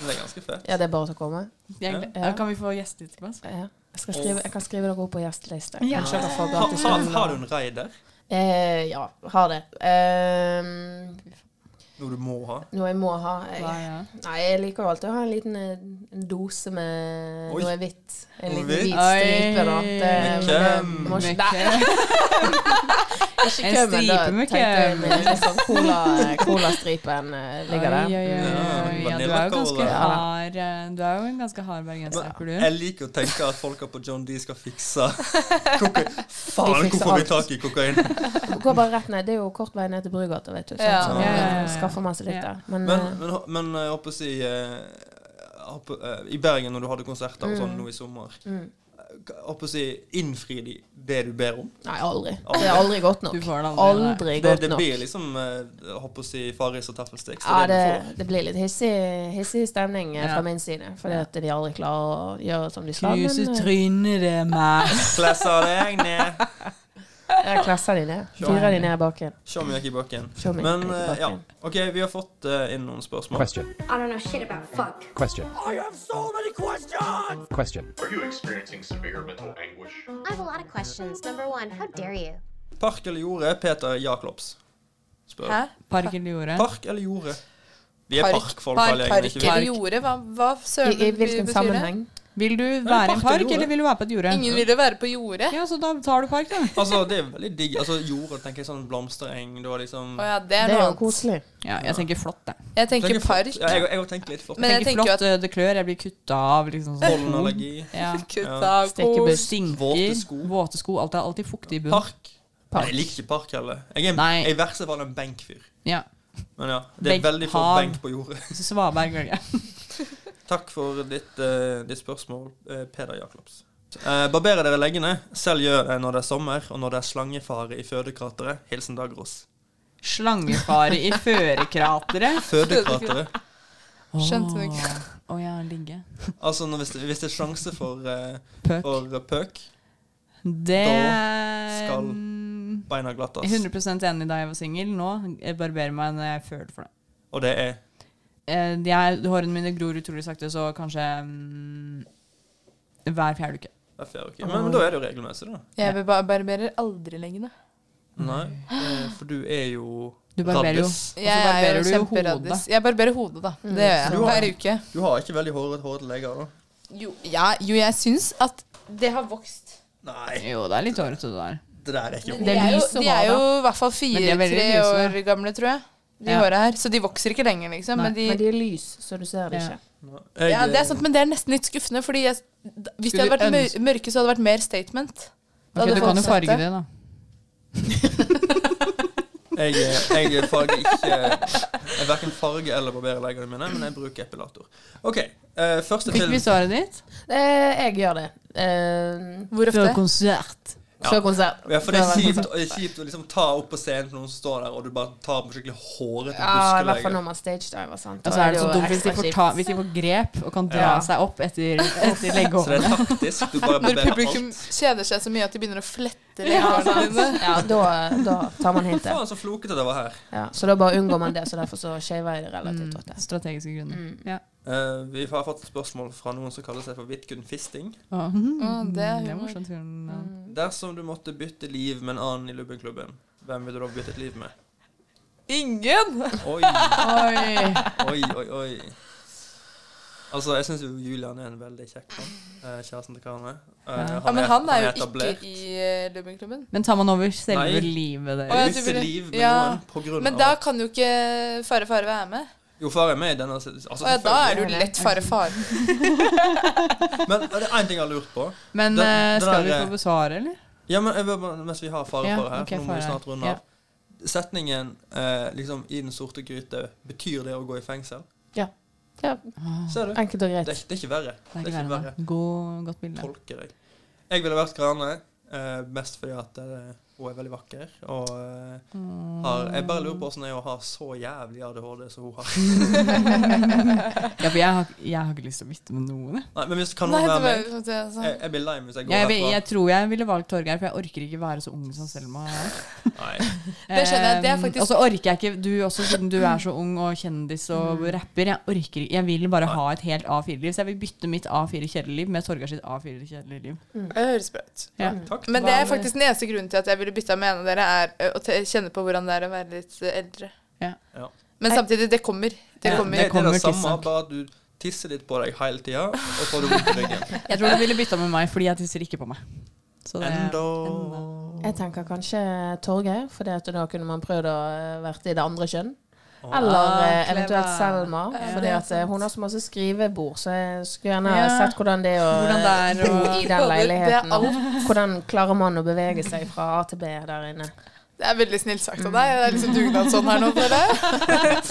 E: Det er ganske fett.
H: Ja. ja, det er bare til å komme.
G: Jeg,
H: Ja.
G: Kan vi få gjester til oss?
H: Ja. Jeg, skal skrive, jeg kan skrive dere opp på gjesteliste.
G: Ja.
H: Kanskje jeg kan få
E: Har,
H: gratis
E: har,
H: øl, da.
E: har du en raider?
H: Eh, ja, har det. Ehm,
E: Noe du må ha?
H: Noe jeg må ha. Jeg,
E: Hva er
H: Nei, jeg liker jo alltid å ha en liten eh, en dose med
E: Oi.
H: noe hvitt. En
E: Noe
H: liten
E: hvitt?
H: hvit stripe, da. Det,
E: Med køm.
H: må ikke-
E: Med
H: Nei.
G: En
H: Ikke køm, men da
G: stripe med
H: tenkte jeg
G: køm.
H: med en sånn cola- colastripen eh, ligger der.
G: Oi, oi, oi, oi. Ja, du er jo ganske
E: Vanilla-cola.
G: hard eh, Du er jo en ganske hard bergenser, er ikke
E: Jeg
G: du?
E: liker å tenke at folka på John D skal fikse kokain. Faen,
H: De fikser
E: hvorfor har vi
H: alt.
E: tak i kokain?
H: Går bare rett ned. Det er jo kort vei ned til Brugata, vet du. sant?
E: Ja.
H: Så eh,
E: Ja, ja, ja, ja.
H: Skaffer masse litt der. Men,
E: Men,
H: eh,
E: men, men jeg håper å si eh, håper, eh, I Bergen, når du hadde konserter og sånn
H: Mm.
E: nå i sommer eh,
H: Mm.
E: Jeg håper å si Innfri de det du ber om?
H: Nei, aldri. Det er aldri godt nok. Du får det aldri, nei. Aldri
E: det,
H: godt
E: det
H: nok.
E: blir liksom eh, jeg håper å si Farris og Taffelsticks.
H: Ja,
E: det er
H: det, det blir litt hissig, hissig stemning eh,
E: Ja.
H: fra min side. Fordi at de aldri klarer å gjøre som de skal.
G: Knuse
H: men, eh,
G: trynet det meg.
E: Klesser deg ned.
H: Jeg klasser de ned.
E: Sjå.
H: Fyrer de ned i baken.
E: Show me ikke i bakken.
H: Show me
E: Men
H: ikke i
E: eh, ja,
H: bakken.
E: OK, vi har fått eh, inn noen spørsmål.
M: I don't know shit about fuck.
N: Question.
M: I have so many questions!
N: Question.
O: Are you experiencing severe mental anguish?
M: I have a lot of questions. Number one, how dare you?
E: Park eller jorde? Peter Jakobs spør.
F: Hæ?
G: Park eller jorde?
E: Park eller jorde? Vi er
F: Park.
E: parkfolk,
F: Park.
E: alle
F: Park
E: gjengene.
F: eller jorde? Hva, hva søren
G: I- i hvilken
F: betyr det?
G: sammenheng? Vil du
E: park
G: være i en
E: eller
G: park,
E: jorde?
G: eller vil du være på et jorde?
F: Ingen ville være på jordet.
G: Ja, så da tar du park, da.
E: Altså, det er veldig digg. Altså, jorda tenker jeg sånn blomstereng, da liksom
F: Å ja, det er Det er noe jo annet.
H: koselig.
G: Ja, jeg tenker flott, jeg.
F: Jeg tenker
E: Tenker flott.
F: park.
E: Ja, jeg, jeg tenker litt flott.
G: Jeg tenker flott, eh, det klør, jeg blir kutta av. liksom sånn.
E: Pollenallergi.
G: Ja.
E: Kutta av kos.
G: Stekkebuss. Stinker.
E: Våte
G: Våte sko. Alt er alltid fuktig i bunnen.
E: Park. Nei, jeg liker ikke park heller. Jeg er en- jeg er i verste fall en benkfyr.
G: Ja.
E: Men ja, det er
G: Benk,
E: veldig få
G: hav.
E: benk på jordet.
G: Svaberg, velger jeg.
E: Takk for ditt, eh, ditt spørsmål, eh, Peder Jakobs. Eh, barberer dere leggene? Selv gjør det når det er sommer, og når det er slangefare i fødekrateret. Hilsen Dagros.
G: Slangefare i førekrateret.
E: Fødekrateret.
F: Skjønte du ikke?
G: Å ja, ligge.
E: Altså når, hvis, det, hvis det er sjanse for, eh, for pøk,
G: Det
E: da skal beina glattes.
G: Jeg er 100 enig da jeg var singel. Nå eh, barberer meg når jeg føler for det.
E: Og det er
G: Eh, Jeg, hårene mine gror utrolig sakte, så kanskje mm, hver fjerde uke.
E: hver fjerde uke. Men, men da er det jo regelmessig, da.
F: Jeg vil ba- barberer aldri lenger.
E: Nei, eh, for du er jo
G: Du barberer jo.
E: raddis.
G: Og så barberer du jo
F: kjemperaddis.
G: hodet.
F: Jeg barberer hodet, da.
G: Mm.
F: Det gjør jeg
E: Du har-
F: hver uke.
E: Du har ikke veldig hårete håret til leger, da?
F: Jo, ja, jo, jeg syns at det har vokst.
E: Nei.
G: Jo, det er litt hårete, det der.
E: Det der er ikke
F: De er jo, de er jo i hvert fall
G: Men de er veldig
F: fire-tre
G: lyse,
F: år gamle, tror jeg. De
G: Ja.
F: håra her. Så de vokser ikke lenger, liksom.
H: Nei,
F: Men de,
H: men de er lys, så du ser det ikke.
E: Jeg-
F: ja, det er sånn- sant, men det er nesten litt skuffende, fordi jeg, da- hvis de
G: Skulle
F: hadde vært mør-
G: ønske-
F: mørke, så hadde det vært mer statement. Da
G: Ok,
F: hadde
G: du
F: folk
G: kan jo
F: sett
G: farge det, da.
E: eh, Jeg, jeg farger ikke Jeg verken farger eller barberer leggene mine, men jeg bruker epilator. OK. eh, første til
G: Fikk vi svaret ditt?
H: Eh, jeg gjør det. Eh,
G: Før konsert.
E: Ja.
H: Før konsert.
E: Ja, for det er
H: Før
E: kjipt,
H: konsert.
E: det er kjipt å liksom ta opp på scenen for noen som står der, og du bare tar på skikkelig hårete
H: Ja, i hvert fall
E: buskeleger.
H: når man stagediver, sant.
G: Og
H: Da
G: så er det
H: jo
G: så dumt hvis de
H: ekstra
G: får,
H: kjipt.
G: ta, hvis de får grep og kan dra
E: Ja.
G: seg opp etter, etter
E: Så det
G: leggehårene.
E: er taktisk. Du bare
F: Når
E: barberer alt.
F: publikum kjeder seg så mye at de begynner å flette
H: Ja,
F: leggene
H: sant.
G: liksom.
F: dine.
H: ja da, da tar man hintet.
E: Faen, så flokete det var her.
H: Ja, så da bare unngår man det, så derfor så shaver jeg det
G: Mm.
H: relativt ofte.
G: Strategiske grunner.
F: Mm.
G: Ja.
E: Eh, vi har fått et spørsmål fra noen som kaller seg for Vidkun Fisting.
G: Å,
F: Å, det er
G: det er
F: humor. Mm.
G: morsomt. Jørgen.
H: Mm.
E: Dersom du måtte bytte liv med en annen i Lubbenklubben, hvem ville du da byttet liv med?
F: Ingen!
E: Oi. Oi, oi, oi. Altså, jeg syns Julian er en veldig kjekk mann. eh, Kjæresten til Karene.
F: Ja, men han er jo ikke i eh, Lubbenklubben.
G: Men tar man over selve
E: Nei.
G: livet
E: Å, ja,
G: deres?
E: du vil- Bytte liv med noen på grunn
F: Men
E: av-
F: da kan jo ikke Fare Fare være med.
E: Jo, far er med i denne altså,
F: Å ja, da er
E: selvfølgelig.
F: det jo lett Fare Fare.
E: Men er det én ting jeg har lurt på?
G: Men
E: Den-
G: eh,
E: den der,
G: skal vi
E: eh,
G: få besvare, eller?
E: Ja, men jeg vil bare, mens vi har fare
G: Ja,
E: for her,
G: ok,
E: for nå må vi
G: fare.
E: snart runde av. Setningen eh, liksom, 'i den sorte gryte', betyr det å gå i fengsel?
H: Ja. ja.
E: Ser
F: Ah,
E: du?
H: Enkelt og greit.
E: Det er, det er ikke verre.
G: Det er ikke verre, nei. God, godt bilde.
E: Tolker jeg. Jeg ville vært Grane, eh, mest fordi at eh, hun er veldig vakker. Og eh, har, jeg bare lurer på åssen det er å ha så jævlig ADHD som hun har.
G: Ja, for jeg har, jeg har ikke lyst til å bytte med noen. jeg.
E: Nei, men hvis kan
F: Nei,
E: hun
F: det
E: være Eh,
F: var
E: meg?
F: jo sånn. det jeg sa.
E: Jeg, jeg blir lei meg hvis jeg går
G: Jeg, vil-
E: herfra.
G: jeg tror jeg ville valgt Torgeir, for jeg orker ikke være så ung som Selma er.
F: Det skjønner jeg, det er
G: Eh,
F: faktisk-
G: Og så orker jeg ikke Du også, siden du er så ung og kjendis og
F: Mm.
G: rapper. Jeg orker ikke Jeg vil bare ha et helt A4-liv, så jeg vil bytte mitt A4-kjedeliv med Torgeir sitt A4-kjedeliv.
F: Det høres bra ut.
G: Ja.
F: Men det er faktisk den eneste eh, grunnen til at jeg ville bytta med en av dere, er ø, å te- kjenne på hvordan det er å være litt ø, eh, eldre.
G: Ja.
F: Men samtidig, det kommer. Det kommer.
E: det, er det samme, bare at du tisser litt på deg hele tida, og så har du vondt i ryggen.
G: Jeg tror du ville bytta med meg, fordi jeg tisser ikke på meg. Så det,
H: Jeg tenker kanskje Torgeir, for da kunne man prøvd å eh, vært i det andre kjønn. Eller
G: Ah,
H: eh,
G: clever.
H: eventuelt Selma. For
G: det er
H: hun har så masse skrivebord, så jeg skulle gjerne
G: Ja.
H: sett hvordan det er å
G: Hvordan det er
H: bo
G: å-
H: i den leiligheten.
F: Det er
H: Hvordan klarer man å bevege seg fra A til B der inne?
F: Det er veldig snilt sagt av deg. Det er liksom dugnadsånd her nå, føler jeg.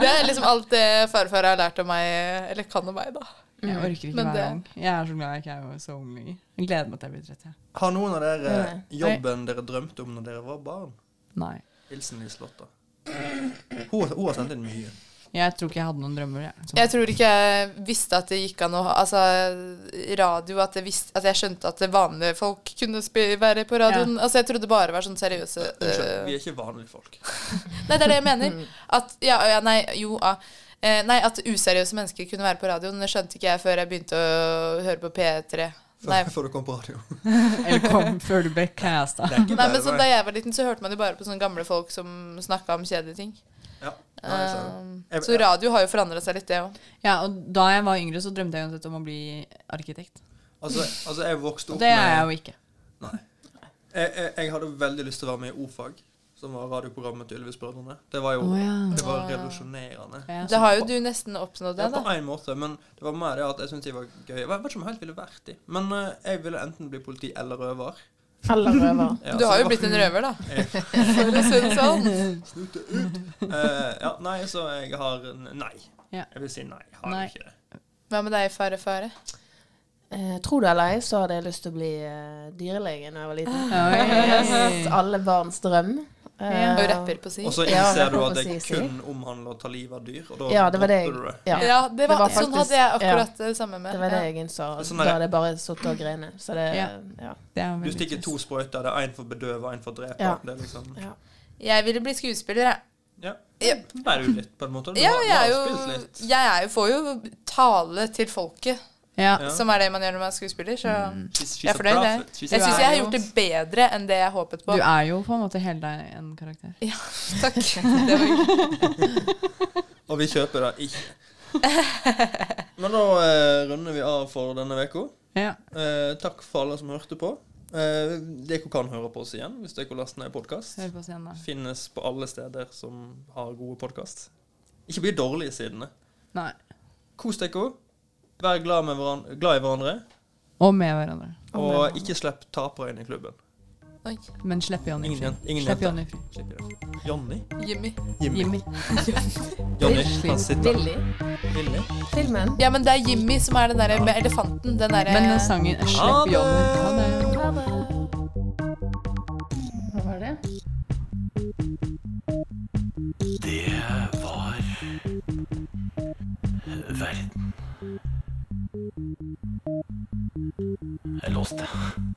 F: Det er liksom alt det farfar har lært av meg, eller kan av meg, da.
G: jeg orker ikke
F: Men
G: være
F: det-
G: ung. Jeg er så glad jeg ikke er så ung lenger. Jeg gleder meg til jeg blir 30.
E: Har noen av dere
G: Nei.
E: jobben dere drømte om når dere var barn?
G: Nei.
E: Hilsen Liselotta. Hun, hun har sendt inn mye.
G: Jeg tror ikke jeg hadde noen drømmer. Jeg. liksom. Så-
F: Jeg tror ikke jeg visste at det gikk an å ha Altså, radio At jeg, visste, at jeg skjønte at vanlige folk kunne sp- være på radioen. Altså, jeg trodde bare det var sånn seriøse
E: Unnskyld,
F: øh,
E: vi Mm. er ikke vanlige folk.
F: Nei, det er det jeg mener. At ja, ja, nei, jo, ja. Eh, nei, at useriøse mennesker kunne være på radioen, det skjønte ikke jeg før jeg begynte å høre på P3. Nei.
E: Før, før du kom på radio.
G: Eller kom før du ble casta.
E: Det er ikke
F: Nei,
E: bare
F: men så
E: meg.
F: Da jeg var liten, så hørte man jo bare på sånne gamle folk som snakka om kjedelige ting.
E: Ja,
G: nei, så-
F: Um,
G: Jeg-
F: så radio har jo forandra seg litt, det òg.
G: Ja, og da jeg var yngre, så drømte jeg uansett om å bli arkitekt.
E: Altså, altså jeg vokste opp
G: Og det er
E: med-
G: jeg jo ikke.
E: Nei. Jeg, jeg, jeg hadde veldig lyst til å være med i O-fag, som var radioprogrammet til Ylvis Brødrene. Det var jo
G: Å, ja.
E: det var
F: Å, ja.
E: revolusjonerende.
F: Det har jo du nesten oppnådd,
E: Ja,
F: det,
E: på
F: da.
E: en måte, men det var mer det at jeg syntes de var gøy. Jeg vet ikke om jeg helt ville vært de, men eh, jeg ville enten bli politi eller røver.
H: Eller røver.
E: Ja,
F: Du
E: så
F: har
E: det
F: jo
E: var-
F: blitt en røver, da.
E: Ja.
F: For å si det sånn.
E: Snute ut. Eh, ja, nei, så jeg har en- Nei.
G: Ja.
E: Jeg vil si nei. Har
F: Nei.
E: jeg ikke det.
F: Hva med deg, Fare Fare?
H: Eh, tro det eller ei, så hadde jeg lyst til å bli eh, dyrelege da jeg var liten.
G: Ah. Oi.
H: Alle barns drøm. Eh,
F: Ja. Og rapper på si.
E: Og så
H: Ja,
E: innser
H: rapper
E: du
H: på
E: at det
H: si, si.
E: kun omhandler å ta livet av dyr, og da
H: Ja, det var det jeg
E: dropper du det.
H: ja.
F: Ja, det var,
H: faktisk-
F: sånn hadde jeg akkurat
H: ja.
F: det samme med.
H: Det var det
F: Ja.
H: jeg innså.
E: Det er sånn
H: Da
E: der-
H: hadde jeg bare sittet og grenet. Så det
F: Ja.
H: ja.
E: Du stikker to sprøyter. Det er én for å bedøve, én for å drepe.
H: Ja.
E: Det er liksom
F: Jeg ville bli skuespiller, jeg.
E: Ja. Det er jo litt, på en måte. Du
F: Ja,
E: har, du
F: jeg,
E: har
F: er
E: spilt
F: jo,
E: litt.
F: jeg er jo, får jo tale til folket.
E: Ja.
F: Som er det man gjør når man er skuespiller. Så
E: She's- she's
F: jeg Mm. er
E: a
F: fornøyd. Jeg,
E: prophet.
F: jeg
E: She's
F: syns
E: a-
F: jeg har gjort det bedre enn det jeg håpet på.
G: Du er jo på en måte hele deg en karakter.
F: Ja, takk. Det var hyggelig.
E: Og vi kjøper det ikke. Men da eh, runder vi av for denne uka.
G: Ja.
E: Eh, takk for alle som hørte på. Eh, dere kan høre på oss igjen hvis dere laster ned podkast.
G: Hør på oss igjen da.
E: Finnes på alle steder som har gode podkast. Ikke bli dårlige sidene.
G: Nei.
E: Kos dere. Vær glad, med hveran- glad i hverandre.
G: Og med hverandre.
E: Og ikke slipp tapere inn i klubben.
G: Men slipp Jonny
E: Ingen,
G: fri.
E: jen- ingen
G: Slipp
E: jenter.
G: Jonny fri.
E: Slipp Jonny. Jonny?
F: Jimmy.
E: Jimmy.
G: Jimmy.
E: Jonny kan sitte.
H: Willy.
E: Willy.
H: Filmen.
F: Ja, men det er Jimmy som er den derre med elefanten. Den derre
G: Men den sangen er
F: Ha
G: Slipp
F: det!
G: Jonny. Ha det.
H: Hva var det?
N: Det var verden. Jeg låste.